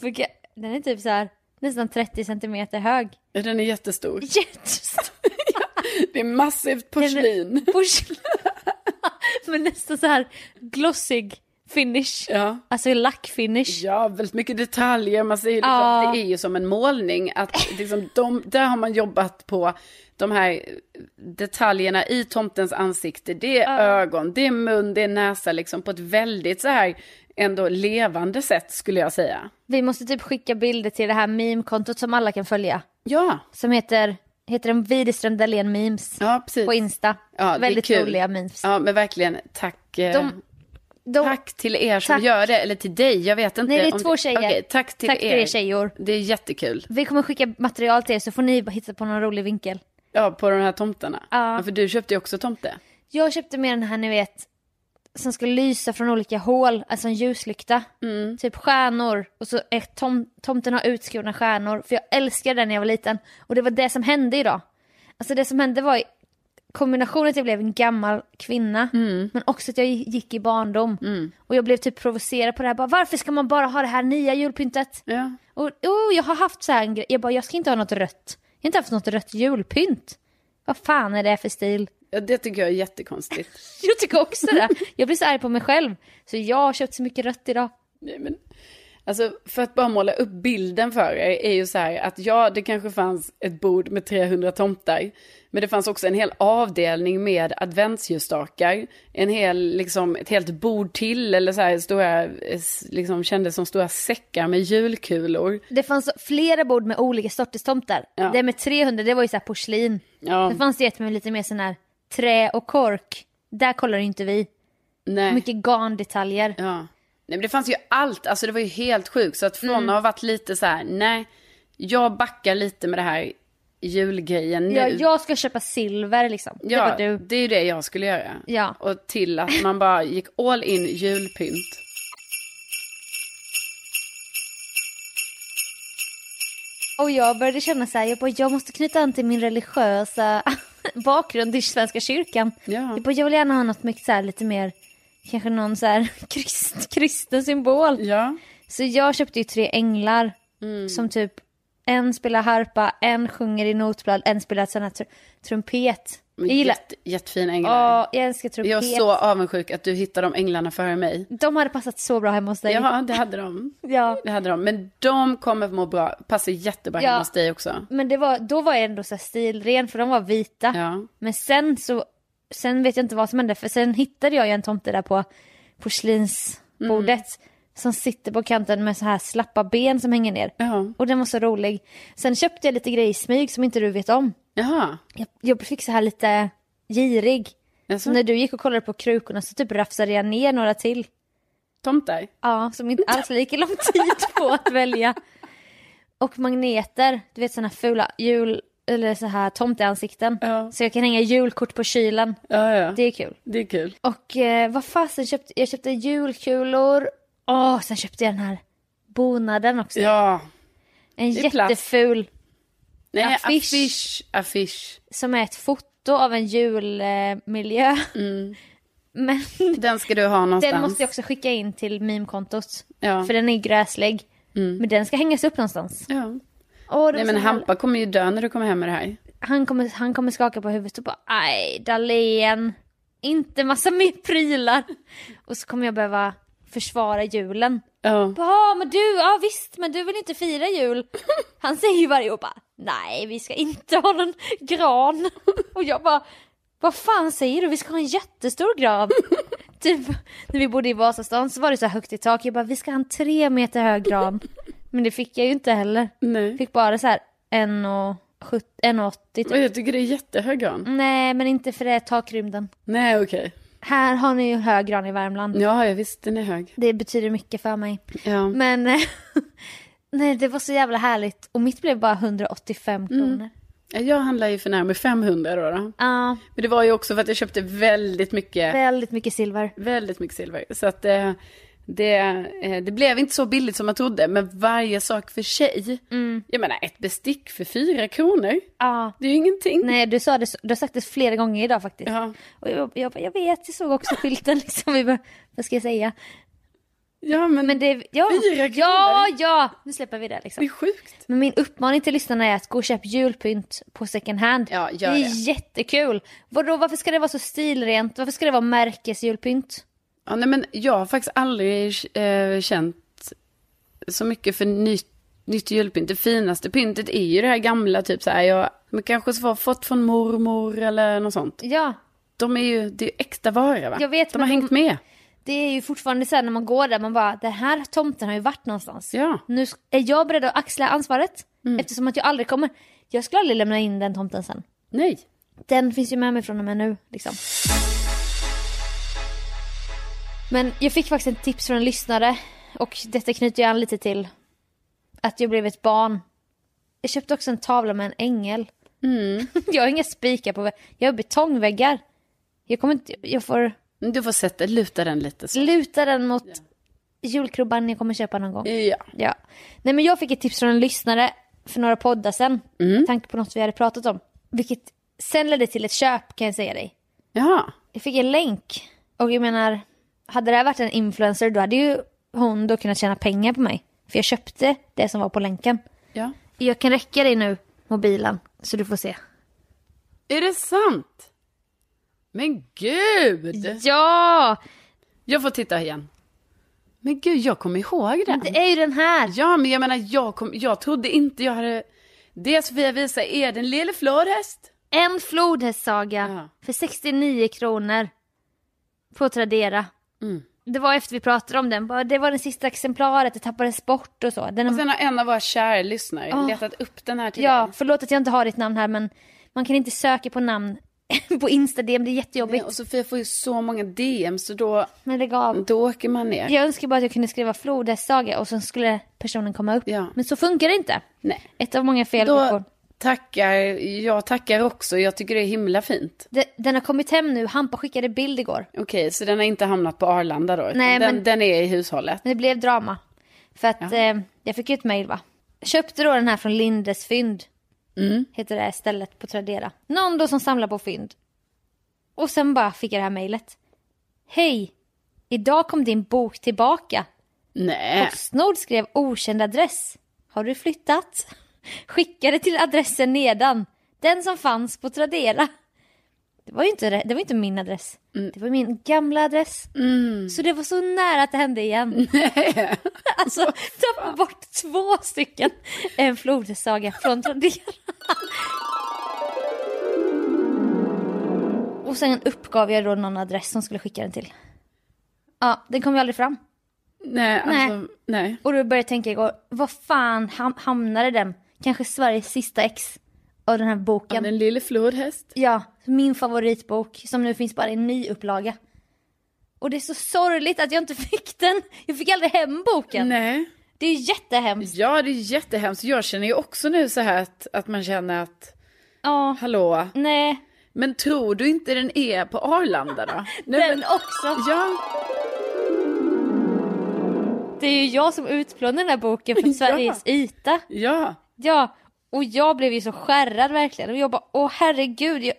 [SPEAKER 2] Fuck, Den är typ så här nästan 30 centimeter hög.
[SPEAKER 1] Den är jättestor.
[SPEAKER 2] Jättestor
[SPEAKER 1] Det är massivt porslin.
[SPEAKER 2] porslin. men nästan så här glossig finish.
[SPEAKER 1] Ja.
[SPEAKER 2] Alltså lackfinish.
[SPEAKER 1] Ja, väldigt mycket detaljer. Man ser, ju liksom,
[SPEAKER 2] Ja.
[SPEAKER 1] Det är ju som en målning. Att, liksom, de, där har man jobbat på de här detaljerna i tomtens ansikte. Det är ögon, det är mun, det är näsa liksom, på ett väldigt så här ändå levande sätt skulle jag säga.
[SPEAKER 2] Vi måste typ skicka bilder till det här meme-kontot som alla kan följa.
[SPEAKER 1] Ja,
[SPEAKER 2] Som heter, heter den Widerström Dahlén Memes.
[SPEAKER 1] ja precis.
[SPEAKER 2] På Insta.
[SPEAKER 1] Ja, det är
[SPEAKER 2] Väldigt
[SPEAKER 1] kul.
[SPEAKER 2] roliga memes.
[SPEAKER 1] Ja, men verkligen tack. eh,
[SPEAKER 2] De, De,
[SPEAKER 1] Tack till er som
[SPEAKER 2] Tack.
[SPEAKER 1] gör det, eller till dig, jag vet inte.
[SPEAKER 2] Nej, det är
[SPEAKER 1] om
[SPEAKER 2] två tjejer.
[SPEAKER 1] Okej, tack till
[SPEAKER 2] tack
[SPEAKER 1] er.
[SPEAKER 2] till er tjejor.
[SPEAKER 1] Det är jättekul.
[SPEAKER 2] Vi kommer skicka material till er så får ni bara hitta på någon rolig vinkel.
[SPEAKER 1] Ja, på de här tomtarna.
[SPEAKER 2] Ja.
[SPEAKER 1] för du köpte ju också tomte.
[SPEAKER 2] Jag köpte med den här ni vet som ska lysa från olika hål, alltså en ljuslykta. Typ stjärnor och så är tom, tomten har utskurna stjärnor. För jag älskade den när jag var liten och det var det som hände idag. Alltså det som hände var i kombinationen att jag blev en gammal kvinna men också att jag gick i barndom. Och jag blev typ provocerad på det här, bara, varför ska man bara ha det här nya julpyntet?
[SPEAKER 1] Ja.
[SPEAKER 2] Och oh, jag har haft så här en grej, jag bara jag ska inte ha något rött. Jag har inte haft något rött julpynt. Vad fan är det för stil?
[SPEAKER 1] ja, det tycker jag är jättekonstigt.
[SPEAKER 2] Jag tycker också det. Jag blir så arg på mig själv. Så jag har köpt så mycket rött idag.
[SPEAKER 1] Nej, men, alltså, för att bara måla upp bilden för er är ju så här att ja, det kanske fanns ett bord med 300 tomtar. Men det fanns också en hel avdelning med adventsljusstakar. En hel, liksom, ett helt bord till eller så här stora, eh, s- liksom kändes som stora säckar med julkulor.
[SPEAKER 2] Det fanns flera bord med olika sorters tomtar.
[SPEAKER 1] Ja.
[SPEAKER 2] Det med 300, det var ju så här porslin.
[SPEAKER 1] Ja,
[SPEAKER 2] Sen fanns det ett med lite mer sån här trä och kork. Där kollar ju inte vi.
[SPEAKER 1] nej.
[SPEAKER 2] Mycket garndetaljer.
[SPEAKER 1] Ja. Nej, men det fanns ju allt, alltså det var ju helt sjukt. Så att från
[SPEAKER 2] Mm.
[SPEAKER 1] att ha varit lite så här, nej, jag backar lite med det här julgrejen nu.
[SPEAKER 2] Ja, jag ska köpa silver liksom. Det
[SPEAKER 1] Ja,
[SPEAKER 2] var du.
[SPEAKER 1] det är ju det jag skulle göra.
[SPEAKER 2] Ja.
[SPEAKER 1] Och till att man bara gick all in julpynt.
[SPEAKER 2] Och jag började känna så här, jag, bara, jag måste knyta an till min religiösa bakgrund i Svenska kyrkan.
[SPEAKER 1] Ja.
[SPEAKER 2] Jag, bara, jag vill gärna ha något mycket så här, lite mer, kanske någon så här krist, kristen symbol.
[SPEAKER 1] Ja.
[SPEAKER 2] Så jag köpte ju tre änglar
[SPEAKER 1] Mm.
[SPEAKER 2] som typ en spelar harpa, en sjunger i notblad, en spelar sån här tr- trumpet. Jag gillar,
[SPEAKER 1] Jätte, jättefina änglar.
[SPEAKER 2] ja, jag älskar trumpet.
[SPEAKER 1] Jag är så avundsjuk att du hittade de änglarna före mig.
[SPEAKER 2] De hade passat så bra hemma hos dig.
[SPEAKER 1] Ja, det hade de.
[SPEAKER 2] Ja.
[SPEAKER 1] Det hade de. Men de kommer må bra, passar jättebra
[SPEAKER 2] Ja.
[SPEAKER 1] hemma hos dig också.
[SPEAKER 2] Men det var, då var jag ändå så här stilren för de var vita.
[SPEAKER 1] Ja.
[SPEAKER 2] Men sen så, sen vet jag inte vad som hände för sen hittade jag ju en tomte där på porslinsbordet. Som sitter på kanten med så här slappa ben som hänger ner.
[SPEAKER 1] Ja.
[SPEAKER 2] Och den var så rolig. Sen köpte jag lite grejer i smyg som inte du vet om.
[SPEAKER 1] Jaha.
[SPEAKER 2] jag, jag fick så här lite girig.
[SPEAKER 1] Alltså,
[SPEAKER 2] Så när du gick och kollade på krukorna så typ rafsade jag ner några till.
[SPEAKER 1] Tomtar?
[SPEAKER 2] Ja, som inte alls la lika lång tid på att välja. Och magneter, du vet såna fula jul eller så här tomteansikten.
[SPEAKER 1] Ja.
[SPEAKER 2] Så jag kan hänga julkort på kylen.
[SPEAKER 1] Ja, ja.
[SPEAKER 2] Det är kul.
[SPEAKER 1] Det är kul.
[SPEAKER 2] Och eh, vad fasen köpte jag? köpte julkulor. Åh, sen köpte jag den här bonaden också.
[SPEAKER 1] Ja.
[SPEAKER 2] en
[SPEAKER 1] det är plast.
[SPEAKER 2] jätteful
[SPEAKER 1] Nej,
[SPEAKER 2] Affisch.
[SPEAKER 1] affisch. Affisch.
[SPEAKER 2] som är ett foto av en julmiljö. Eh, miljö.
[SPEAKER 1] Mm.
[SPEAKER 2] Men
[SPEAKER 1] Den ska du ha någonstans.
[SPEAKER 2] Den måste jag också skicka in till meme-kontot.
[SPEAKER 1] Ja.
[SPEAKER 2] För den är gräslig. Men den ska hängas upp någonstans.
[SPEAKER 1] Ja.
[SPEAKER 2] Åh,
[SPEAKER 1] Nej,
[SPEAKER 2] det var
[SPEAKER 1] men
[SPEAKER 2] så jävla-
[SPEAKER 1] Hampa kommer ju dö när du kommer hem med det här.
[SPEAKER 2] han, kommer, han kommer skaka på huvudet och bara aj, Dahlén. Inte massa mer prylar. Och så kommer jag behöva försvara julen.
[SPEAKER 1] Ja.
[SPEAKER 2] Ja men du, ja visst men du vill inte fira jul. Han säger ju varje år bara nej vi ska inte ha någon gran. Och jag bara vad fan säger du vi ska ha en jättestor gran. typ när vi bodde i Vasastan så var det så här högt i tak. Jag bara vi ska ha en tre meter hög gran. Men det fick jag ju inte heller.
[SPEAKER 1] Nej.
[SPEAKER 2] Jag fick bara så här en och, sjut- en och 80 typ.
[SPEAKER 1] Och jag tycker det är jättehög gran.
[SPEAKER 2] Nej men inte för det är takrymden.
[SPEAKER 1] Nej, okej.
[SPEAKER 2] Här har ni ju hög gran i Värmland.
[SPEAKER 1] Ja, jag visst, den är hög.
[SPEAKER 2] Det betyder mycket för mig.
[SPEAKER 1] Ja.
[SPEAKER 2] Men eh, nej, det var så jävla härligt. Och mitt blev bara 185
[SPEAKER 1] Mm.
[SPEAKER 2] kronor.
[SPEAKER 1] Jag handlar ju för närmare 500 då, då.
[SPEAKER 2] Ja,
[SPEAKER 1] Men det var ju också för att jag köpte väldigt mycket,
[SPEAKER 2] väldigt mycket silver.
[SPEAKER 1] väldigt mycket silver. Så att eh, det, eh, det blev inte så billigt som jag trodde, men varje sak för sig.
[SPEAKER 2] Mm.
[SPEAKER 1] Jag menar, ett bestick för fyra kronor,
[SPEAKER 2] Ja.
[SPEAKER 1] det är ju ingenting.
[SPEAKER 2] Nej, du, sa det, så- du har sagt det flera gånger idag faktiskt.
[SPEAKER 1] Ja,
[SPEAKER 2] Och jag, jag, bara, jag vet, jag såg också skylten liksom. Vi bara, vad ska jag säga?
[SPEAKER 1] ja men,
[SPEAKER 2] Men det, ja,
[SPEAKER 1] Fyra kronor? Mm.
[SPEAKER 2] ja, ja, nu släpper vi det
[SPEAKER 1] det är
[SPEAKER 2] liksom.
[SPEAKER 1] sjukt.
[SPEAKER 2] Men min uppmaning till lyssnarna är att gå och köp julpynt på second hand.
[SPEAKER 1] Ja,
[SPEAKER 2] det
[SPEAKER 1] gör
[SPEAKER 2] är
[SPEAKER 1] det.
[SPEAKER 2] jättekul. Vadå, varför ska det vara så stilrent? Varför ska det vara märkesjulpynt?
[SPEAKER 1] Ja, nej, men jag har faktiskt aldrig eh, känt så mycket för nytt, nytt julpynt. Det finaste pyntet är ju det här gamla, typ så här, jag men kanske så har fått från mormor eller något sånt.
[SPEAKER 2] Ja,
[SPEAKER 1] De är ju, det är ju äkta vara va?
[SPEAKER 2] Jag vet,
[SPEAKER 1] de har
[SPEAKER 2] men de-
[SPEAKER 1] hängt med.
[SPEAKER 2] Det är ju fortfarande så här när man går där, man bara den här tomten har ju varit någonstans.
[SPEAKER 1] Ja.
[SPEAKER 2] Nu sk- är jag beredd att axla ansvaret eftersom att jag aldrig kommer. Jag skulle aldrig lämna in den tomten sen.
[SPEAKER 1] Nej.
[SPEAKER 2] Den finns ju med mig från och med nu liksom. Men jag fick faktiskt ett tips från en lyssnare och detta knyter ju an lite till att jag blev ett barn. Jag köpte också en tavla med en ängel. jag har inga spikar på vä- Jag har betongväggar. Jag kommer inte, jag får
[SPEAKER 1] Du får sätta, luta den lite så.
[SPEAKER 2] luta den mot julkrubban jag kommer köpa någon gång.
[SPEAKER 1] Ja.
[SPEAKER 2] Ja. Nej men jag fick ett tips från en lyssnare för några poddar sen. Mm. Tanke på något vi hade pratat om. Vilket sen ledde till ett köp kan jag säga dig.
[SPEAKER 1] Jaha.
[SPEAKER 2] Jag fick en länk. Och jag menar, hade det här varit en influencer då hade ju hon då kunnat tjäna pengar på mig. För jag köpte det som var på länken.
[SPEAKER 1] Ja.
[SPEAKER 2] Jag kan räcka dig nu mobilen så du får se.
[SPEAKER 1] Är det sant? Men gud!
[SPEAKER 2] Ja!
[SPEAKER 1] Jag får titta igen. Men gud, jag kommer ihåg den.
[SPEAKER 2] Det är ju den här.
[SPEAKER 1] Ja, men jag menar, jag, kom, jag trodde inte jag hade... Det Sofia visar är den lille flodhäst.
[SPEAKER 2] En flodhästsaga
[SPEAKER 1] Ja.
[SPEAKER 2] för 69 kronor. På Tradera.
[SPEAKER 1] Mm.
[SPEAKER 2] Det var efter vi pratade om den. Bara, Det var det sista exemplaret, det tappades bort och så. Den
[SPEAKER 1] Och sen har en av våra kära lyssnare letat upp den här till
[SPEAKER 2] Ah. Ja,
[SPEAKER 1] dig.
[SPEAKER 2] förlåt att jag inte har ditt namn här men man kan inte söka på namn på Insta DM, det är jättejobbigt.
[SPEAKER 1] Nej, Mm. Och Sofia får ju så många DM så då,
[SPEAKER 2] Men lägg av.
[SPEAKER 1] då åker man ner.
[SPEAKER 2] Jag önskar bara att jag kunde skriva flodhästsaga och så skulle personen komma upp.
[SPEAKER 1] Ja.
[SPEAKER 2] Men så funkar det inte.
[SPEAKER 1] Nej.
[SPEAKER 2] Ett av många fel vi
[SPEAKER 1] Då
[SPEAKER 2] får.
[SPEAKER 1] tackar, jag tackar också. Jag tycker det är himla fint.
[SPEAKER 2] De- Den har kommit hem nu, Hampa skickade bild igår.
[SPEAKER 1] Okej, så den har inte hamnat på Arlanda då? utan
[SPEAKER 2] Nej,
[SPEAKER 1] den,
[SPEAKER 2] men-
[SPEAKER 1] den är i hushållet?
[SPEAKER 2] Men det blev drama. För att eh, jag fick ju ett mejl va. Köpte då den här från Lindes fynd. Heter det här stället på Tradera. Någon då som samlar på fynd. Och sen bara fick jag det här mejlet. Hej! Idag kom din bok tillbaka.
[SPEAKER 1] Nej.
[SPEAKER 2] Postnord skrev okänd adress. Har du flyttat? Skickade till adressen nedan. Den som fanns på Tradera. Det var ju inte, det var inte min adress. Det var min gamla adress.
[SPEAKER 1] Mm.
[SPEAKER 2] Så det var så nära att det hände igen. alltså, tappa bort två stycken. En flodhästsaga från Tradera. Och sen uppgav jag då någon adress som skulle skicka den till. Ja, den kom ju aldrig fram.
[SPEAKER 1] Nej, alltså, nej.
[SPEAKER 2] Och då började jag tänka igår, vad fan ham- hamnade den? Kanske Sveriges sista ex av den här boken.
[SPEAKER 1] Den lille flodhäst.
[SPEAKER 2] Ja, min favoritbok som nu finns bara i en ny upplaga. Och det är så sorgligt att jag inte fick den. Jag fick aldrig hem boken.
[SPEAKER 1] Nej.
[SPEAKER 2] Det är ju jättehemskt.
[SPEAKER 1] Ja, det är jättehemskt. Jag känner ju också nu så här att, att man känner att,
[SPEAKER 2] Ja,
[SPEAKER 1] hallå,
[SPEAKER 2] nej,
[SPEAKER 1] men tror du inte den är på Arlanda då? Nej, men,
[SPEAKER 2] den också.
[SPEAKER 1] ja,
[SPEAKER 2] Det är ju jag som utplånar den här boken från
[SPEAKER 1] Ja.
[SPEAKER 2] Sveriges yta.
[SPEAKER 1] ja.
[SPEAKER 2] Ja, och jag blev ju så skärrad verkligen. Och jag bara, åh herregud. Jag,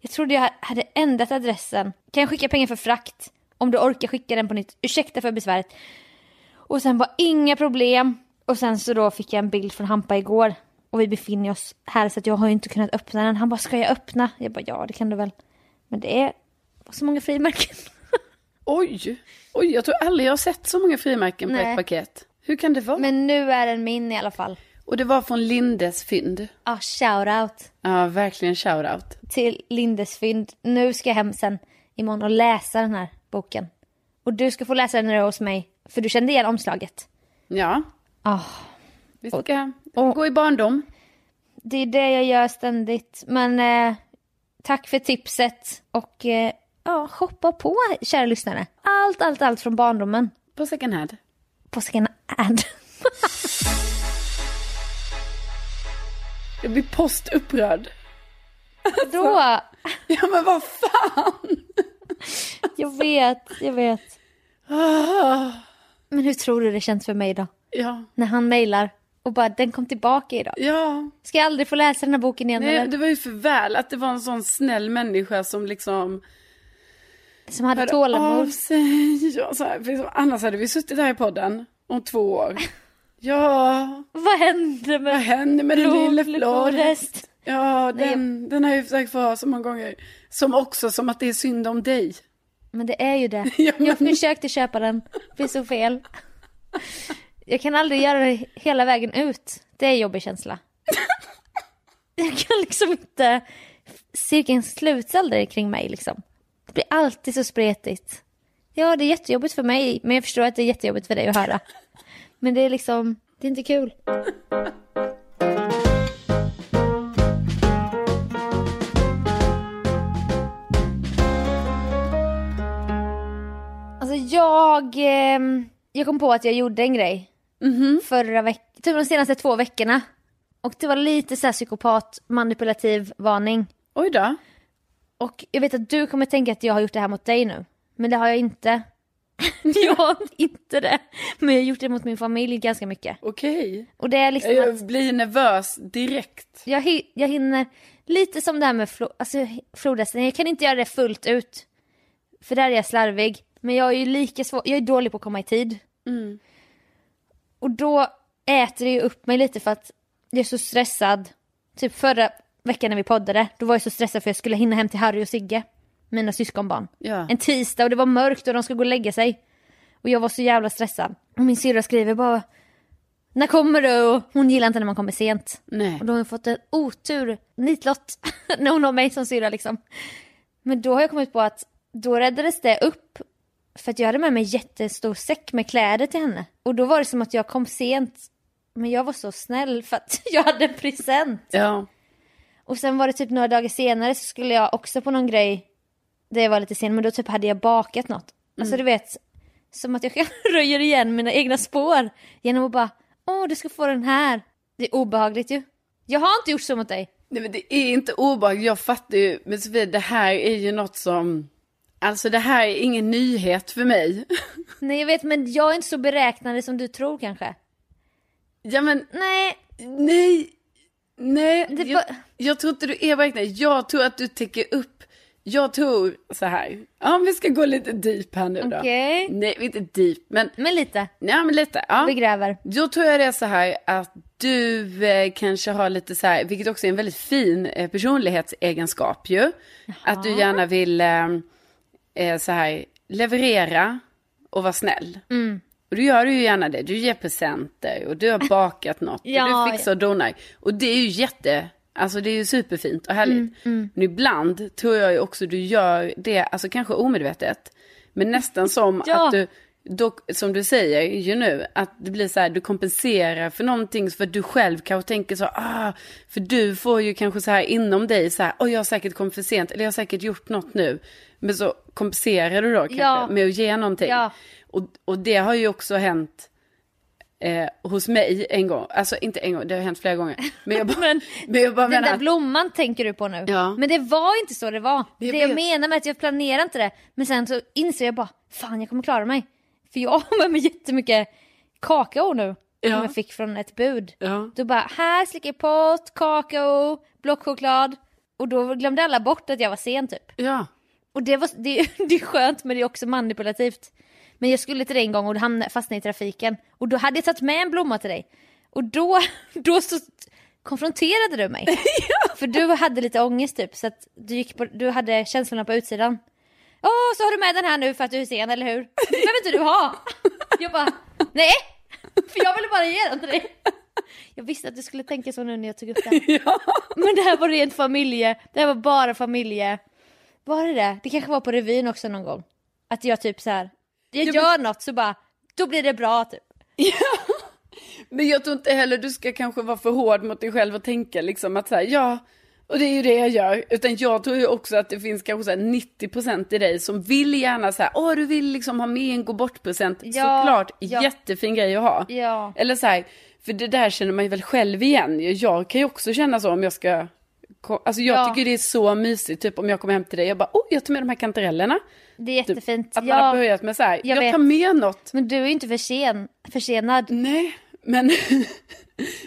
[SPEAKER 2] jag trodde jag hade ändrat adressen. Kan jag skicka pengar för frakt? Om du orkar skicka den på nytt. Ursäkta för besväret. Och sen bara, inga problem. Och sen så då fick jag en bild från Hampa igår. Och vi befinner oss här så att jag har ju inte kunnat öppna den. Han bara, ska jag öppna? Jag bara, ja det kan du väl. Men det är så många frimärken.
[SPEAKER 1] Oj, oj, jag tror aldrig jag har sett så många frimärken på
[SPEAKER 2] Nej.
[SPEAKER 1] ett paket. Hur kan det vara?
[SPEAKER 2] Men nu är den min i alla fall.
[SPEAKER 1] Och det var från Lindes fynd.
[SPEAKER 2] Ja, shout out.
[SPEAKER 1] Ja, verkligen shoutout.
[SPEAKER 2] till Lindes fynd. Nu ska jag hem sen imorgon och läsa den här boken. Och du ska få läsa den när du är hos mig, för du kände igen omslaget.
[SPEAKER 1] Ja,
[SPEAKER 2] Ah,
[SPEAKER 1] vi ska gå i barndom.
[SPEAKER 2] det är det jag gör ständigt. Men eh, tack för tipset och eh, ja, shoppa på kära lyssnare. Allt, allt, allt från barndomen
[SPEAKER 1] På second hand.
[SPEAKER 2] på Scana Ad.
[SPEAKER 1] Jag blir postupprörd.
[SPEAKER 2] Då,
[SPEAKER 1] Ja, men vad fan!
[SPEAKER 2] jag vet, jag vet.
[SPEAKER 1] Ah,
[SPEAKER 2] Men hur tror du det känns för mig då?
[SPEAKER 1] Ja,
[SPEAKER 2] När han mejlar och bara den kom tillbaka idag.
[SPEAKER 1] ja.
[SPEAKER 2] Ska jag aldrig få läsa den här boken igen
[SPEAKER 1] Nej,
[SPEAKER 2] eller?
[SPEAKER 1] det var ju för väl att det var en sån snäll människa som liksom
[SPEAKER 2] Som hade
[SPEAKER 1] hörde av
[SPEAKER 2] tålamod.
[SPEAKER 1] sig. Ja, så här, för liksom, annars hade vi suttit här i podden om två år. Ja,
[SPEAKER 2] Vad hände
[SPEAKER 1] vad
[SPEAKER 2] med
[SPEAKER 1] hände med den lille Flores?
[SPEAKER 2] flodhäst?
[SPEAKER 1] Ja,
[SPEAKER 2] Nej,
[SPEAKER 1] den, den har jag ju försökt få ha så många gånger. Som också som att det är synd om dig.
[SPEAKER 2] Men det är ju det.
[SPEAKER 1] Ja, men-
[SPEAKER 2] Jag försökte köpa den, blev så fel. Jag kan aldrig göra det hela vägen ut. Det är en jobbig känsla. Jag kan liksom inte... Cirkeln sluts aldrig kring mig liksom. Det blir alltid så spretigt. Ja, det är jättejobbigt för mig, men jag förstår att det är jättejobbigt för dig att höra. Men det är liksom, det är inte kul. Alltså jag Jag, ehm, jag kom på att jag gjorde en grej förra veckan, typ de senaste två veckorna. Och det var lite så här psykopat manipulativ varning.
[SPEAKER 1] Oj då.
[SPEAKER 2] Och jag vet att du kommer tänka att jag har gjort det här mot dig nu. Men det har jag inte. jag har inte det. Men jag har gjort det mot min familj ganska mycket.
[SPEAKER 1] Okej.
[SPEAKER 2] Och det är liksom att
[SPEAKER 1] Jag blir nervös direkt.
[SPEAKER 2] jag, hi- jag hinner, lite som det här med flo- alltså, hi- flodhästen, jag kan inte göra det fullt ut. För där är jag slarvig. Men jag är ju lika svår, jag är dålig på att komma i tid.
[SPEAKER 1] Mm.
[SPEAKER 2] Och då äter det ju upp mig lite för att jag är så stressad. Typ förra veckan när vi poddade, då var jag så stressad för jag skulle hinna hem till Harry och Sigge, mina syskonbarn.
[SPEAKER 1] Ja.
[SPEAKER 2] En tisdag och det var mörkt och de skulle gå och lägga sig. Och jag var så jävla stressad. Och min syrra skriver bara När kommer du? Och hon gillar inte när man kommer sent.
[SPEAKER 1] Nej.
[SPEAKER 2] Och då har jag fått en otur, nitlott, när hon har mig som syrra liksom. Men då har jag kommit på att då räddades det upp. För att jag hade med mig en jättestor säck med kläder till henne. Och då var det som att jag kom sent. Men jag var så snäll för att jag hade en present.
[SPEAKER 1] Ja.
[SPEAKER 2] Och sen var det typ några dagar senare så skulle jag också på någon grej. Det var lite sen, men då typ hade jag bakat något. Alltså du vet, som att jag själv röjer igen mina egna spår. Genom att bara, åh du ska få den här. Det är obehagligt ju. Jag har inte gjort så mot dig.
[SPEAKER 1] Nej men det är inte obehagligt, jag fattar ju. Men Sofie, det här är ju något som... Alltså det här är ingen nyhet för mig.
[SPEAKER 2] Nej jag vet, men jag är inte så beräknande som du tror kanske.
[SPEAKER 1] ja men
[SPEAKER 2] Nej,
[SPEAKER 1] nej. Nej,
[SPEAKER 2] Det
[SPEAKER 1] jag,
[SPEAKER 2] var-
[SPEAKER 1] jag tror inte du är verkligen... Jag tror att du täcker upp... Jag tror så här. Ja, vi ska gå lite deep här nu då.
[SPEAKER 2] Okej.
[SPEAKER 1] Nej, inte deep, men...
[SPEAKER 2] men lite.
[SPEAKER 1] Nej, men lite. Ja.
[SPEAKER 2] Vi gräver.
[SPEAKER 1] Då tror jag det är så här att du eh, kanske har lite så här, vilket också är en väldigt fin eh, personlighetsegenskap ju. Att du gärna vill eh, eh, så här, leverera och vara snäll.
[SPEAKER 2] Mm.
[SPEAKER 1] Och då gör du ju gärna det. Du ger presenter och du har bakat något.
[SPEAKER 2] Ja,
[SPEAKER 1] och du fixar och donar. Och det är ju jätte, alltså det är ju superfint och härligt.
[SPEAKER 2] Mm,
[SPEAKER 1] Men ibland tror jag ju också du gör det, alltså kanske omedvetet. Men nästan som
[SPEAKER 2] Ja.
[SPEAKER 1] att du, dock, som du säger ju nu, att det blir så här, du kompenserar för någonting för att du själv kanske tänker så, ah, för du får ju kanske så här inom dig så här, oh, jag har säkert kommit för sent, eller jag har säkert gjort något nu. Men så kompenserar du då kanske
[SPEAKER 2] Ja.
[SPEAKER 1] med att ge någonting.
[SPEAKER 2] Ja.
[SPEAKER 1] Och, och det har ju också hänt eh, hos mig en gång, alltså inte en gång, det har hänt flera gånger. Men jag bara, men, jag bara
[SPEAKER 2] Den
[SPEAKER 1] menar
[SPEAKER 2] där
[SPEAKER 1] att-
[SPEAKER 2] blomman tänker du på nu.
[SPEAKER 1] Ja.
[SPEAKER 2] Men det var inte så det var. Det
[SPEAKER 1] Jag
[SPEAKER 2] jag
[SPEAKER 1] vet.
[SPEAKER 2] menar med att jag planerar inte det. Men sen så inser jag bara, fan jag kommer klara mig. För jag har med mig jättemycket kakao nu. Som
[SPEAKER 1] Ja.
[SPEAKER 2] jag fick från ett bud.
[SPEAKER 1] Ja.
[SPEAKER 2] Då bara, här slickar jag pott, kakao, blockchoklad. Och då glömde alla bort att jag var sen typ.
[SPEAKER 1] Ja.
[SPEAKER 2] Och det, var, det, det är skönt men det är också manipulativt. Men jag skulle till dig en gång och hamnade, fastnade i trafiken. Och då hade jag tagit med en blomma till dig. Och då, då så konfronterade du mig. För du hade lite ångest typ. Så att du, gick på, du hade känslorna på utsidan. Åh, så har du med den här nu för att du är sen, eller hur? Det behöver inte du ha. Jag bara, nej. För jag ville bara ge den till dig. Jag visste att du skulle tänka så nu när jag tog upp den.
[SPEAKER 1] Ja.
[SPEAKER 2] Men det här var rent familje, det här var bara familje. Var det det? Det kanske var på revyn också någon gång. Att jag typ så här. jag
[SPEAKER 1] men-
[SPEAKER 2] gör något så bara, då blir det bra typ.
[SPEAKER 1] Men jag tror inte heller du ska kanske vara för hård mot dig själv och tänka liksom att så här, ja, och det är ju det jag gör. Utan jag tror ju också att det finns kanske så här 90% i dig som vill gärna så här, åh du vill liksom ha med en gå bort-present.
[SPEAKER 2] Ja,
[SPEAKER 1] Såklart,
[SPEAKER 2] ja.
[SPEAKER 1] jättefin grej att ha.
[SPEAKER 2] Ja.
[SPEAKER 1] Eller så här, för det där känner man ju väl själv igen. ju. Jag kan ju också känna så om jag ska... ko- Alltså jag
[SPEAKER 2] Ja.
[SPEAKER 1] tycker det är så mysigt, typ om jag kommer hem till dig, jag bara, oh jag tar med de här kantarellerna.
[SPEAKER 2] Det är
[SPEAKER 1] Typ,
[SPEAKER 2] jättefint.
[SPEAKER 1] Att man har
[SPEAKER 2] ja,
[SPEAKER 1] börjat med så här,
[SPEAKER 2] jag
[SPEAKER 1] jag,
[SPEAKER 2] vet.
[SPEAKER 1] tar med något.
[SPEAKER 2] men du är ju inte försen, försenad.
[SPEAKER 1] Nej, men,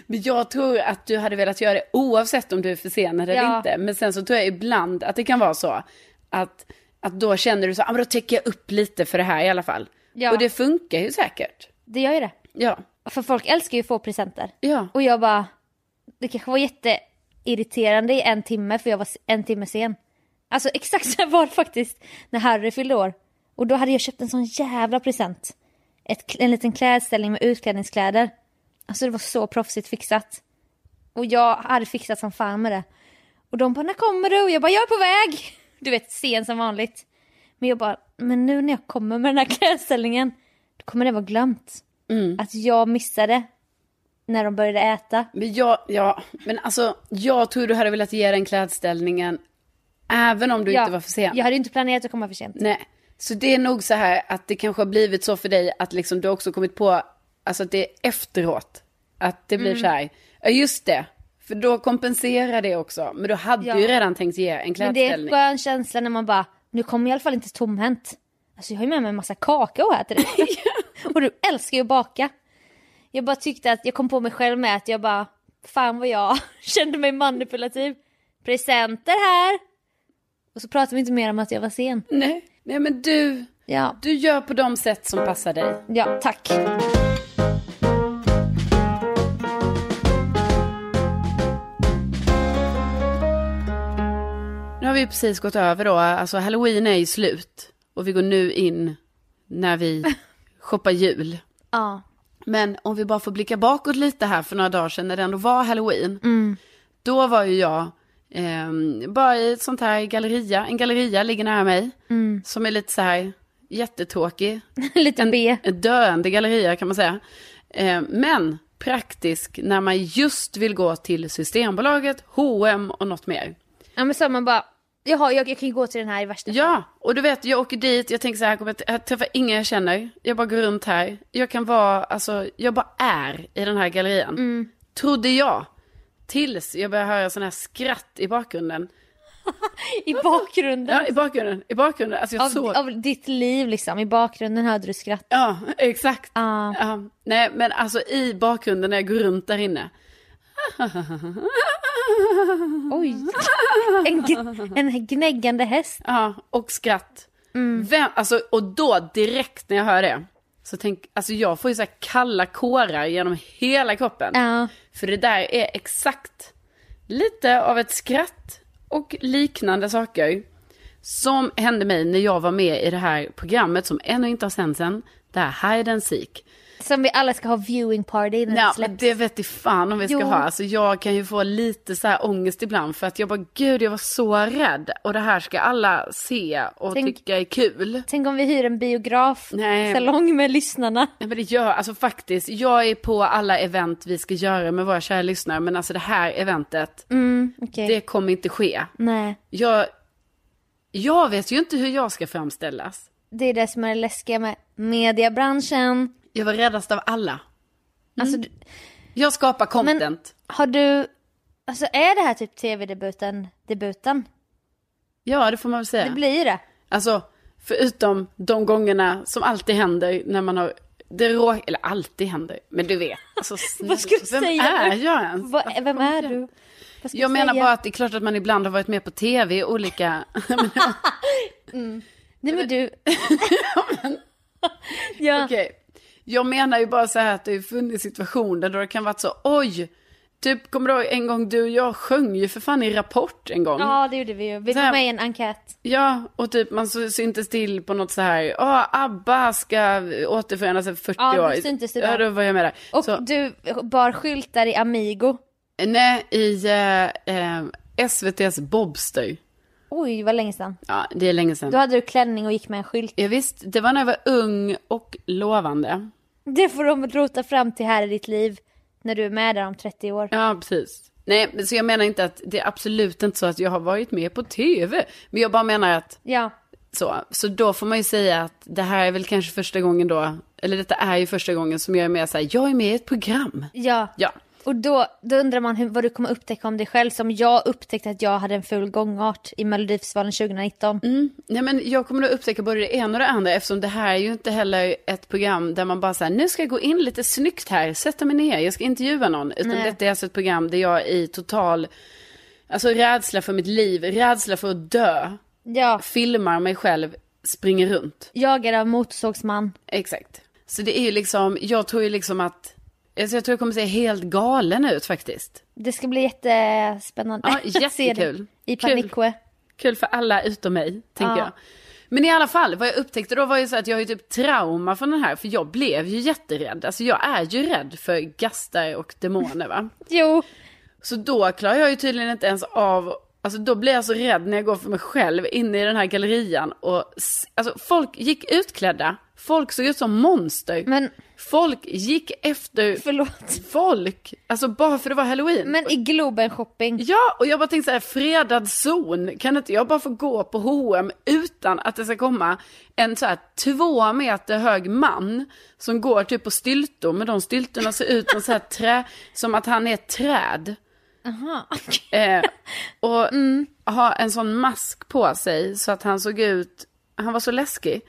[SPEAKER 1] men jag tror att du hade velat göra det oavsett om du är försenad eller
[SPEAKER 2] Ja.
[SPEAKER 1] inte. Men sen så tror jag ibland att det kan vara så att, att då känner du så, ah, men då täcker jag upp lite för det här i alla fall.
[SPEAKER 2] Ja.
[SPEAKER 1] Och det funkar ju säkert.
[SPEAKER 2] Det gör ju det.
[SPEAKER 1] Ja,
[SPEAKER 2] För folk älskar ju att få presenter.
[SPEAKER 1] ja,
[SPEAKER 2] Och jag bara, det kanske var jätteirriterande i en timme för jag var s- en timme sen. Alltså exakt så här var det faktiskt när Harry fyllde år. Och då hade jag köpt en sån jävla present. Ett, kl- en liten klädställning med utklädningskläder. Alltså det var så proffsigt fixat. Och jag hade fixat som fan med det. Och de bara, när kommer du? Och jag bara, jag är på väg! Du vet, sen som vanligt. Men jag bara, men nu när jag kommer med den här klädställningen, då kommer det vara glömt. Att jag missade när de började äta.
[SPEAKER 1] men jag, ja, men alltså jag tror du hade velat ge den klädställningen även om du
[SPEAKER 2] Ja,
[SPEAKER 1] inte var försenad.
[SPEAKER 2] Jag hade ju inte planerat att komma för sent.
[SPEAKER 1] Nej, Så det är nog så här att det kanske har blivit så för dig att liksom du har också kommit på, alltså att det är efteråt. Att det blir
[SPEAKER 2] Mm.
[SPEAKER 1] så här, ja just det, för då kompenserar det också. Men du hade
[SPEAKER 2] Ja.
[SPEAKER 1] ju redan tänkt ge en
[SPEAKER 2] Men det är en
[SPEAKER 1] klädställning.
[SPEAKER 2] skön känsla när man bara, nu kommer jag i alla fall inte tomhänt. Alltså jag har ju med mig en massa kakao här till dig. och du älskar ju att baka. Jag bara tyckte att, jag kom på mig själv med att jag bara, fan vad jag kände mig manipulativ. Presenter här! Och så pratade vi inte mer om att jag var sen.
[SPEAKER 1] Nej, nej men du,
[SPEAKER 2] Ja,
[SPEAKER 1] du gör på de sätt som passar dig.
[SPEAKER 2] ja tack.
[SPEAKER 1] Nu har vi ju precis gått över då, alltså halloween är ju slut. Och vi går nu in när vi shoppar jul.
[SPEAKER 2] Ja.
[SPEAKER 1] Men om vi bara får blicka bakåt lite här för några dagar sedan när det ändå var halloween. Då var ju jag ehm, bara i ett sånt här galleria, en galleria ligger nära mig. Som är lite så här jättetråkig.
[SPEAKER 2] Lite
[SPEAKER 1] En,
[SPEAKER 2] B.
[SPEAKER 1] en döende galleria kan man säga. Ehm, men praktisk när man just vill gå till Systembolaget, H&M och något mer.
[SPEAKER 2] Ja men så man bara, jaha jag, jag kan ju gå till den här i värsta
[SPEAKER 1] Ja, och du vet, jag åker dit, jag tänker så här, jag kommer att- jag träffar ingen jag känner, jag bara går runt här, jag kan vara, alltså, jag bara är i den här gallerian.
[SPEAKER 2] Mm.
[SPEAKER 1] Trodde jag. Tills jag började höra sådana här skratt i bakgrunden.
[SPEAKER 2] I bakgrunden.
[SPEAKER 1] Ja, i bakgrunden, i bakgrunden. Alltså jag såg.
[SPEAKER 2] Av, av ditt liv liksom, i bakgrunden hörde du skratt. Ah.
[SPEAKER 1] Ja, exakt.
[SPEAKER 2] Ja.
[SPEAKER 1] Ja, nej, men alltså i bakgrunden när jag går runt där inne.
[SPEAKER 2] Oj! En, gn- en gnäggande häst.
[SPEAKER 1] Ja, och skratt.
[SPEAKER 2] Mm.
[SPEAKER 1] Vem, alltså, och då direkt när jag hör det. Så tänk, alltså jag får ju så här kalla kårar genom hela kroppen.
[SPEAKER 2] Ja.
[SPEAKER 1] För det där är exakt lite av ett skratt och liknande saker som hände mig när jag var med i det här programmet som ännu inte har sänts än, det här Hide and Seek.
[SPEAKER 2] Som vi alla ska ha viewing
[SPEAKER 1] Ja,
[SPEAKER 2] party när det
[SPEAKER 1] men
[SPEAKER 2] Mm, släpps.
[SPEAKER 1] det vet i fan om vi ska
[SPEAKER 2] Jo.
[SPEAKER 1] ha. Alltså, jag kan ju få lite så här ångest ibland för att jag bara, gud jag var så rädd och det här ska alla se och
[SPEAKER 2] Tänk-
[SPEAKER 1] tycka är kul.
[SPEAKER 2] Tänk om vi hyr en biograf,
[SPEAKER 1] Nej.
[SPEAKER 2] salong med lyssnarna.
[SPEAKER 1] Nej men det gör, alltså faktiskt, jag är på alla event vi ska göra med våra kära lyssnare men alltså det här eventet,
[SPEAKER 2] Mm, okej.
[SPEAKER 1] det kommer inte ske.
[SPEAKER 2] Nej,
[SPEAKER 1] Jag, jag vet ju inte hur jag ska framställas.
[SPEAKER 2] det är det som är det läskiga med mediebranschen.
[SPEAKER 1] Jag var räddast av alla.
[SPEAKER 2] Alltså, du,
[SPEAKER 1] Jag skapar content.
[SPEAKER 2] har du... Alltså är det här typ tv-debuten? Debuten?
[SPEAKER 1] Ja, det får man väl säga.
[SPEAKER 2] Det blir ju det.
[SPEAKER 1] Alltså, förutom de gångerna som alltid händer när man har... Det rå... Eller alltid händer, men du vet. Alltså, snälla,
[SPEAKER 2] ska du
[SPEAKER 1] vem
[SPEAKER 2] säga
[SPEAKER 1] är
[SPEAKER 2] nu?
[SPEAKER 1] jag ens?
[SPEAKER 2] Vad- vem är du? Vad ska
[SPEAKER 1] Jag
[SPEAKER 2] du
[SPEAKER 1] menar
[SPEAKER 2] säga?
[SPEAKER 1] bara att det är klart att man ibland har varit med på tv i olika...
[SPEAKER 2] Nej men du... ja.
[SPEAKER 1] Okej. Jag menar ju bara så här att det har funnits situationer då det kan varit så, oj! Typ, kommer du ihåg en gång du och jag sjöng ju för fan i Rapport en gång.
[SPEAKER 2] ja, det gjorde vi ju. Vi
[SPEAKER 1] Så
[SPEAKER 2] var
[SPEAKER 1] här-
[SPEAKER 2] med i en enkät.
[SPEAKER 1] Ja, och typ man så- syntes till på något så här, ja ABBA ska återförenas efter 40
[SPEAKER 2] Ja, du
[SPEAKER 1] år.
[SPEAKER 2] syntes det
[SPEAKER 1] Ja,
[SPEAKER 2] där.
[SPEAKER 1] då var jag med där.
[SPEAKER 2] Och
[SPEAKER 1] Så,
[SPEAKER 2] du bar skyltar i Amigo.
[SPEAKER 1] nej, i eh, eh, SVT's Bobster.
[SPEAKER 2] Oj, vad länge sedan.
[SPEAKER 1] Ja, det är länge sedan.
[SPEAKER 2] Då hade du klänning och gick med en skylt.
[SPEAKER 1] Ja, visst, det var när jag var ung och lovande.
[SPEAKER 2] Det får de rota fram till här i ditt liv. När du är med där om 30 år.
[SPEAKER 1] Ja, precis. Nej, men så jag menar inte att det är absolut inte så att jag har varit med på tv. Men jag bara menar att
[SPEAKER 2] Ja.
[SPEAKER 1] Så, så då får man ju säga att det här är väl kanske första gången då, eller detta är ju första gången som jag är med så här, jag är med i ett program.
[SPEAKER 2] Ja.
[SPEAKER 1] Ja,
[SPEAKER 2] Och då, då undrar man hur, vad du kommer upptäcka om dig själv. Som jag upptäckte att jag hade en ful gångart i Melodifestivalen 2019.
[SPEAKER 1] mm. nej men jag kommer nog upptäcka både det ena och det andra eftersom det här är ju inte heller ett program där man bara så här, nu ska jag gå in lite snyggt här, sätta mig ner, jag ska intervjua någon. Utan
[SPEAKER 2] Nej.
[SPEAKER 1] detta är alltså ett program där jag i total, alltså rädsla för mitt liv, rädsla för att dö,
[SPEAKER 2] Ja.
[SPEAKER 1] filmar mig själv, springer runt.
[SPEAKER 2] Jag är av motorsågsman.
[SPEAKER 1] Exakt. Så det är ju liksom, jag tror ju liksom att, alltså jag tror jag kommer se helt galen ut faktiskt.
[SPEAKER 2] Det ska bli jättespännande.
[SPEAKER 1] Ja,
[SPEAKER 2] att se det
[SPEAKER 1] jättekul.
[SPEAKER 2] I
[SPEAKER 1] Kul.
[SPEAKER 2] Paniksjö.
[SPEAKER 1] Kul för alla utom mig, tänker
[SPEAKER 2] Ja.
[SPEAKER 1] jag. Men i alla fall, vad jag upptäckte då var ju så att jag har ju typ trauma från den här, för jag blev ju jätterädd. Alltså jag är ju rädd för gastar och demoner va.
[SPEAKER 2] Jo.
[SPEAKER 1] Så då klarar jag ju tydligen inte ens av, alltså då blir jag så rädd när jag går för mig själv inne i den här gallerian och, s- alltså folk gick utklädda, folk såg ut som monster.
[SPEAKER 2] Men
[SPEAKER 1] Folk gick efter
[SPEAKER 2] Förlåt.
[SPEAKER 1] folk, alltså bara för det var halloween.
[SPEAKER 2] Men i Globen shopping.
[SPEAKER 1] Ja, och jag bara tänkte så här, fredad zon, kan inte jag bara få gå på H&M utan att det ska komma en så här två meter hög man som går typ på styltor, men de styltorna ser ut som så här trä, som att han är ett träd.
[SPEAKER 2] Aha.
[SPEAKER 1] Eh, och
[SPEAKER 2] Mm.
[SPEAKER 1] ha en sån mask på sig så att han såg ut, han var så läskig.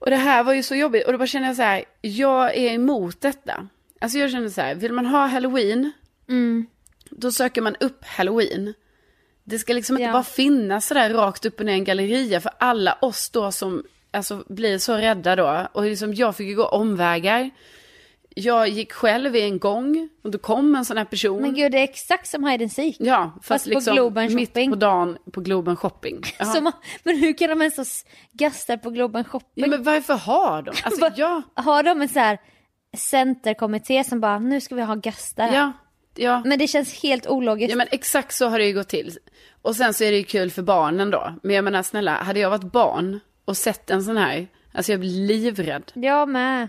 [SPEAKER 1] Och det här var ju så jobbigt och då bara kände jag så här, jag är emot detta. Alltså jag känner så här, vill man ha halloween,
[SPEAKER 2] Mm.
[SPEAKER 1] då söker man upp halloween. Det ska liksom inte
[SPEAKER 2] Ja.
[SPEAKER 1] bara finnas sådär rakt upp och ner i en galleria för alla oss då som alltså, blir så rädda då. Och liksom jag fick ju gå omvägar. Jag gick själv i en gång och då kom en sån här person.
[SPEAKER 2] Men gud, det är exakt som hide and seek.
[SPEAKER 1] Ja, fast,
[SPEAKER 2] Fast på
[SPEAKER 1] liksom
[SPEAKER 2] Globen
[SPEAKER 1] mitt
[SPEAKER 2] shopping.
[SPEAKER 1] på dagen på Globen shopping. Ja.
[SPEAKER 2] Som, men hur kan de ens ha s- gastar på Globen shopping?
[SPEAKER 1] ja, men varför har de? Alltså,
[SPEAKER 2] Vad-
[SPEAKER 1] ja,
[SPEAKER 2] Har de en så här centerkommitté som bara nu ska vi ha gastar?
[SPEAKER 1] ja, ja.
[SPEAKER 2] Men det känns helt ologiskt.
[SPEAKER 1] Ja men exakt så har det ju gått till. Och sen så är det ju kul för barnen då. Men jag menar snälla, hade jag varit barn och sett en sån här, alltså jag blir livrädd.
[SPEAKER 2] Jag med.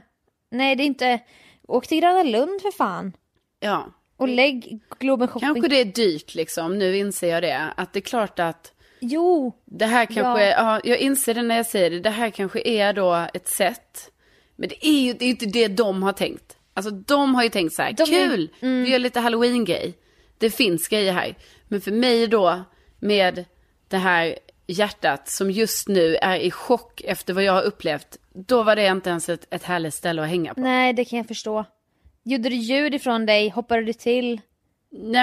[SPEAKER 2] Nej det är inte, åk till Gröna Lund för fan.
[SPEAKER 1] Ja.
[SPEAKER 2] Och lägg Globen shopping.
[SPEAKER 1] Mm. Kanske det är dyrt liksom, nu inser jag det. Att det är klart att
[SPEAKER 2] Jo,
[SPEAKER 1] det här kanske, ja. jag inser det när jag säger det, det här kanske är då ett sätt. Men det är ju, det är ju inte det de har tänkt. Alltså de har ju tänkt så här,
[SPEAKER 2] De är- mm.
[SPEAKER 1] kul, vi gör lite halloween-grej. Det finns grejer här. Men för mig då, med det här hjärtat som just nu är i chock efter vad jag har upplevt, då var det inte ens ett, ett härligt ställe att hänga på. Nej,
[SPEAKER 2] nej det kan jag förstå. Gjorde du ljud ifrån dig? Hoppade du till?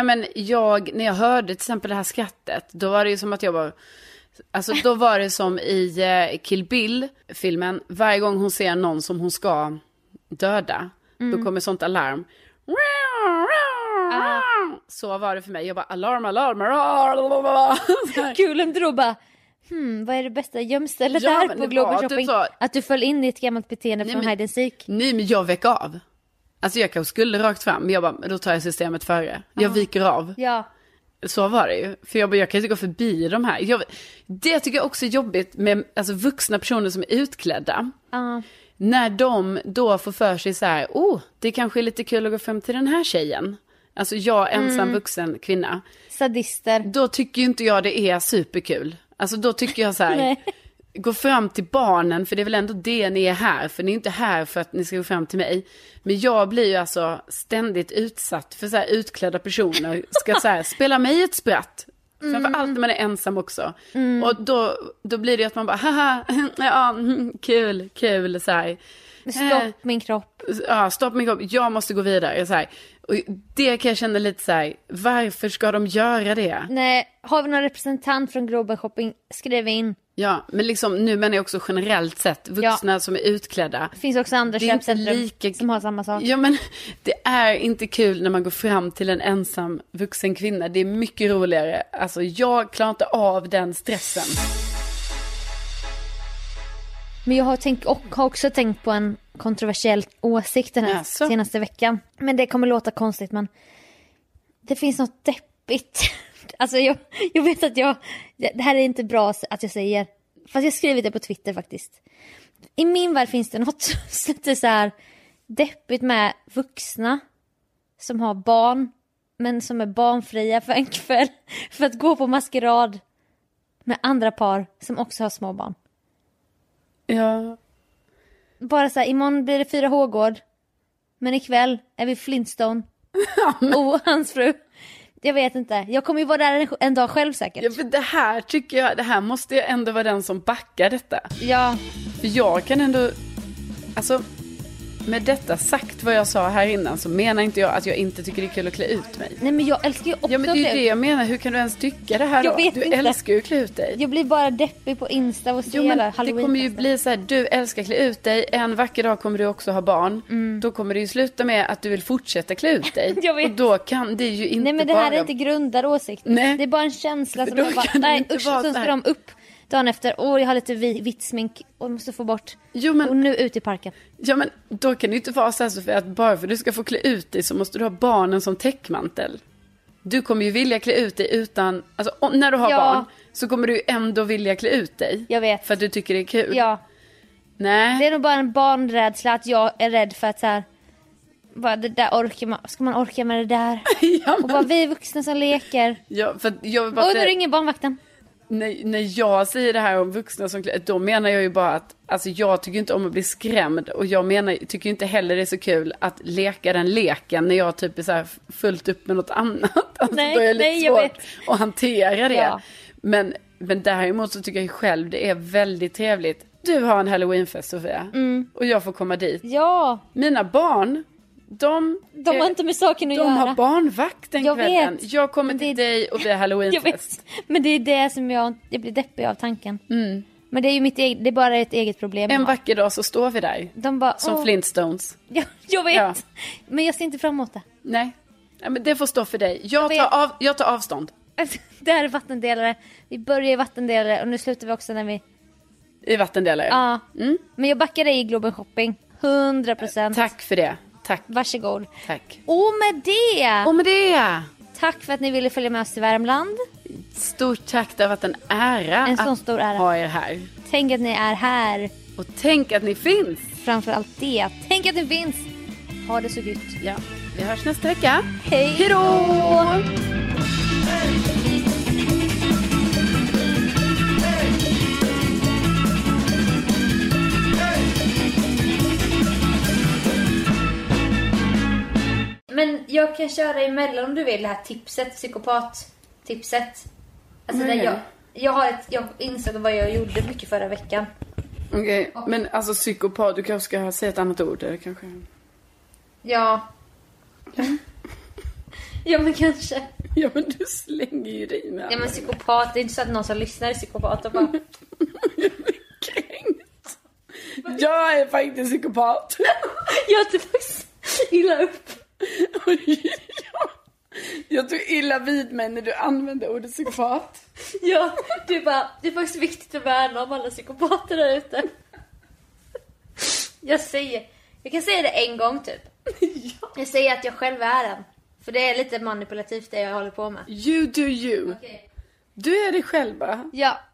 [SPEAKER 1] men jag, när jag hörde till exempel det här skrattet, då var det ju som att jag var Alltså då var det som i eh, Kill Bill-filmen, varje gång hon ser någon som hon ska döda, då kommer sånt alarm. Så var det för mig, jag bara alarm, alarm, alarm. Så här.
[SPEAKER 2] Kul om du då bara Hmm, vad är det bästa gömstället
[SPEAKER 1] Ja,
[SPEAKER 2] där
[SPEAKER 1] men
[SPEAKER 2] på
[SPEAKER 1] det
[SPEAKER 2] Globen
[SPEAKER 1] var typ
[SPEAKER 2] shopping?
[SPEAKER 1] så.
[SPEAKER 2] Att du föll in i ett gammalt beteende från
[SPEAKER 1] men-
[SPEAKER 2] hide and seek.
[SPEAKER 1] Nej men jag väcker av. Alltså jag kanske skulle rakt fram, men jag bara, men då tar jag systemet före. Jag viker av.
[SPEAKER 2] Ja.
[SPEAKER 1] Så var det ju. För jag, bara, jag kan inte gå förbi de här. Jag, det tycker jag också är jobbigt med alltså, vuxna personer som är utklädda.
[SPEAKER 2] ja.
[SPEAKER 1] När de då får för sig så här, oh, det kanske är lite kul att gå fram till den här tjejen. Alltså jag, ensam vuxen kvinna.
[SPEAKER 2] Sadister.
[SPEAKER 1] Då tycker ju inte jag det är superkul. Alltså då tycker jag så här,
[SPEAKER 2] Nej.
[SPEAKER 1] gå fram till barnen, för det är väl ändå det ni är här, för ni är inte här för att ni ska gå fram till mig. Men jag blir ju alltså ständigt utsatt för så här utklädda personer, ska så här, spela mig ett spratt. Framförallt när man är ensam också. Och då, då blir det ju att man bara, haha, ja, mm, kul, kul, så här Eh.
[SPEAKER 2] Stopp min kropp.
[SPEAKER 1] ja, stopp min kropp, jag måste gå vidare. Så här. Och det kan jag känna lite så här, varför ska de göra det?
[SPEAKER 2] Nej, har vi någon representant från Globen shopping? Skriv in.
[SPEAKER 1] Ja, men liksom, nu menar jag också generellt sett, vuxna som är utklädda.
[SPEAKER 2] Det finns också andra
[SPEAKER 1] Det är inte
[SPEAKER 2] köpcentrum
[SPEAKER 1] lika-
[SPEAKER 2] som har samma sak.
[SPEAKER 1] Ja, men det är inte kul när man går fram till en ensam vuxen kvinna. Det är mycket roligare. Alltså, jag klarar inte av den stressen.
[SPEAKER 2] Men jag har, tänkt, och har också tänkt på en kontroversiell åsikt den här
[SPEAKER 1] Jaså?
[SPEAKER 2] senaste veckan. Men det kommer låta konstigt men det finns något deppigt. Alltså jag, jag vet att jag, det här är inte bra att jag säger. Fast jag har skrivit det på Twitter faktiskt. I min värld finns det något som är lite så här deppigt med vuxna som har barn men som är barnfria för en kväll för att gå på maskerad med andra par som också har små barn.
[SPEAKER 1] Ja.
[SPEAKER 2] Bara så här, imorgon blir det 4H-gård. Men ikväll är vi Flintstone. Och hans fru. Jag vet inte. Jag kommer ju vara där en- en dag själv säkert.
[SPEAKER 1] ja, för det här tycker jag, det här måste jag ändå vara den som backar detta.
[SPEAKER 2] Ja.
[SPEAKER 1] För jag kan ändå, alltså med detta sagt vad jag sa här innan så menar inte jag att jag inte tycker det är kul att klä ut mig.
[SPEAKER 2] Nej men jag älskar ju också typ.
[SPEAKER 1] Ja men det är ju
[SPEAKER 2] det.
[SPEAKER 1] det jag menar, hur kan du ens tycka det här
[SPEAKER 2] Jag
[SPEAKER 1] då?
[SPEAKER 2] vet
[SPEAKER 1] du
[SPEAKER 2] inte.
[SPEAKER 1] älskar ju att klä ut dig.
[SPEAKER 2] Jag blir bara deppig på Insta och ser
[SPEAKER 1] Jo men
[SPEAKER 2] alla
[SPEAKER 1] det
[SPEAKER 2] halloween
[SPEAKER 1] kommer ju bli så här, du älskar att klä ut dig, en vacker dag kommer du också ha barn. Då kommer det ju sluta med att du vill fortsätta klä ut dig.
[SPEAKER 2] Mm. Jag vet.
[SPEAKER 1] Och då kan det ju inte
[SPEAKER 2] Nej men det här
[SPEAKER 1] vara...
[SPEAKER 2] är inte grundad åsikt.
[SPEAKER 1] Nej.
[SPEAKER 2] Det är bara en känsla som
[SPEAKER 1] Då
[SPEAKER 2] jag bara,
[SPEAKER 1] kan det
[SPEAKER 2] nej
[SPEAKER 1] inte
[SPEAKER 2] usch,
[SPEAKER 1] vara
[SPEAKER 2] och sen
[SPEAKER 1] så
[SPEAKER 2] ska
[SPEAKER 1] här.
[SPEAKER 2] de upp dagen efter. Åh jag har lite vi- vitt smink och jag måste få bort.
[SPEAKER 1] Jo men
[SPEAKER 2] Och nu ut i parken.
[SPEAKER 1] Ja men då kan det ju inte vara så här Sofia, att bara för att du ska få klä ut dig så måste du ha barnen som täckmantel. Du kommer ju vilja klä ut dig utan, alltså om, när du har
[SPEAKER 2] Ja.
[SPEAKER 1] barn så kommer du ju ändå vilja klä ut dig.
[SPEAKER 2] Jag vet.
[SPEAKER 1] För att du tycker det är kul.
[SPEAKER 2] Ja.
[SPEAKER 1] Nej.
[SPEAKER 2] Det är nog bara en barnrädsla att jag är rädd för att så här, bara, det där orkar man, ska man orka med det där?
[SPEAKER 1] ja,
[SPEAKER 2] Och
[SPEAKER 1] men,
[SPEAKER 2] bara vi vuxna som leker.
[SPEAKER 1] ja, för att jag vill bara
[SPEAKER 2] Och då
[SPEAKER 1] säga-
[SPEAKER 2] ringer barnvakten.
[SPEAKER 1] när, när jag säger det här om vuxna som klä- då menar jag ju bara att alltså, jag tycker inte om att bli skrämd och jag menar, tycker inte heller det är så kul att leka den leken när jag typ är så här fullt upp med något annat. Alltså,
[SPEAKER 2] Nej,
[SPEAKER 1] då är det lite
[SPEAKER 2] nej, jag
[SPEAKER 1] svårt att hantera det.
[SPEAKER 2] Ja.
[SPEAKER 1] Men, men däremot så tycker jag ju själv det är väldigt trevligt. Du har en halloweenfest Sofia
[SPEAKER 2] Mm.
[SPEAKER 1] och jag får komma dit.
[SPEAKER 2] Ja,
[SPEAKER 1] Mina barn, de,
[SPEAKER 2] de har
[SPEAKER 1] är-
[SPEAKER 2] inte med saken att
[SPEAKER 1] de
[SPEAKER 2] göra.
[SPEAKER 1] har barnvakt den
[SPEAKER 2] Jag
[SPEAKER 1] kvällen.
[SPEAKER 2] vet.
[SPEAKER 1] Jag kommer
[SPEAKER 2] Men
[SPEAKER 1] till
[SPEAKER 2] det-
[SPEAKER 1] dig och det är
[SPEAKER 2] Jag
[SPEAKER 1] halloweenfest.
[SPEAKER 2] vet. Men det är det som jag, jag blir deppig av tanken. Men det är ju mitt eget, det är bara ett eget problem. jag
[SPEAKER 1] En
[SPEAKER 2] har.
[SPEAKER 1] vacker dag så står vi där.
[SPEAKER 2] De bara,
[SPEAKER 1] Som
[SPEAKER 2] "Åh."
[SPEAKER 1] Flintstones.
[SPEAKER 2] Ja, jag vet.
[SPEAKER 1] Ja.
[SPEAKER 2] Men jag ser inte fram emot det.
[SPEAKER 1] Nej. Ja, men det får stå för dig. Jag
[SPEAKER 2] vet.
[SPEAKER 1] tar, av, jag tar avstånd
[SPEAKER 2] Alltså, det här är vattendelare. Vi börjar i vattendelare och nu slutar vi också när vi...
[SPEAKER 1] i vattendelare.
[SPEAKER 2] Ja.
[SPEAKER 1] Mm.
[SPEAKER 2] Men jag backar dig i Globen Shopping. 100 procent.
[SPEAKER 1] Tack för det. Tack,
[SPEAKER 2] Varsågod.
[SPEAKER 1] tack.
[SPEAKER 2] Och med det!
[SPEAKER 1] Och med det,
[SPEAKER 2] Tack för att ni ville följa med oss till Värmland.
[SPEAKER 1] stort tack. Det har varit en ära
[SPEAKER 2] En sån
[SPEAKER 1] att
[SPEAKER 2] stor ära.
[SPEAKER 1] ha er här.
[SPEAKER 2] Tänk att ni är här.
[SPEAKER 1] Och tänk att ni finns.
[SPEAKER 2] Framför allt det. Tänk att ni finns. Ha det så gött.
[SPEAKER 1] Ja, vi hörs nästa vecka.
[SPEAKER 2] Hej
[SPEAKER 1] Hej då!
[SPEAKER 2] Men jag kan köra emellan om du vill det här tipset, psykopat-tipset. Alltså
[SPEAKER 1] Nej.
[SPEAKER 2] där jag, jag, har ett, jag insåg vad jag gjorde mycket förra veckan.
[SPEAKER 1] Okej, men alltså psykopat, du kanske ska säga ett annat ord. eller Kanske.
[SPEAKER 2] Ja. ja men kanske.
[SPEAKER 1] Ja, men du slänger ju dig med.
[SPEAKER 2] Ja men psykopat, det är inte så att någon som lyssnar är psykopat och bara
[SPEAKER 1] Kränkt. Jag är faktiskt psykopat.
[SPEAKER 2] Jag typ illa upp.
[SPEAKER 1] Oj, ja. Jag tog illa vid mig när du använde ordet psykopat.
[SPEAKER 2] Ja, det är bara, det är faktiskt viktigt att värna om alla psykopater där ute. Jag säger, jag kan säga det en gång typ. Jag säger att jag själv är en. För det är lite manipulativt det jag håller på med.
[SPEAKER 1] You do you. Du är dig själv bara.
[SPEAKER 2] Ja,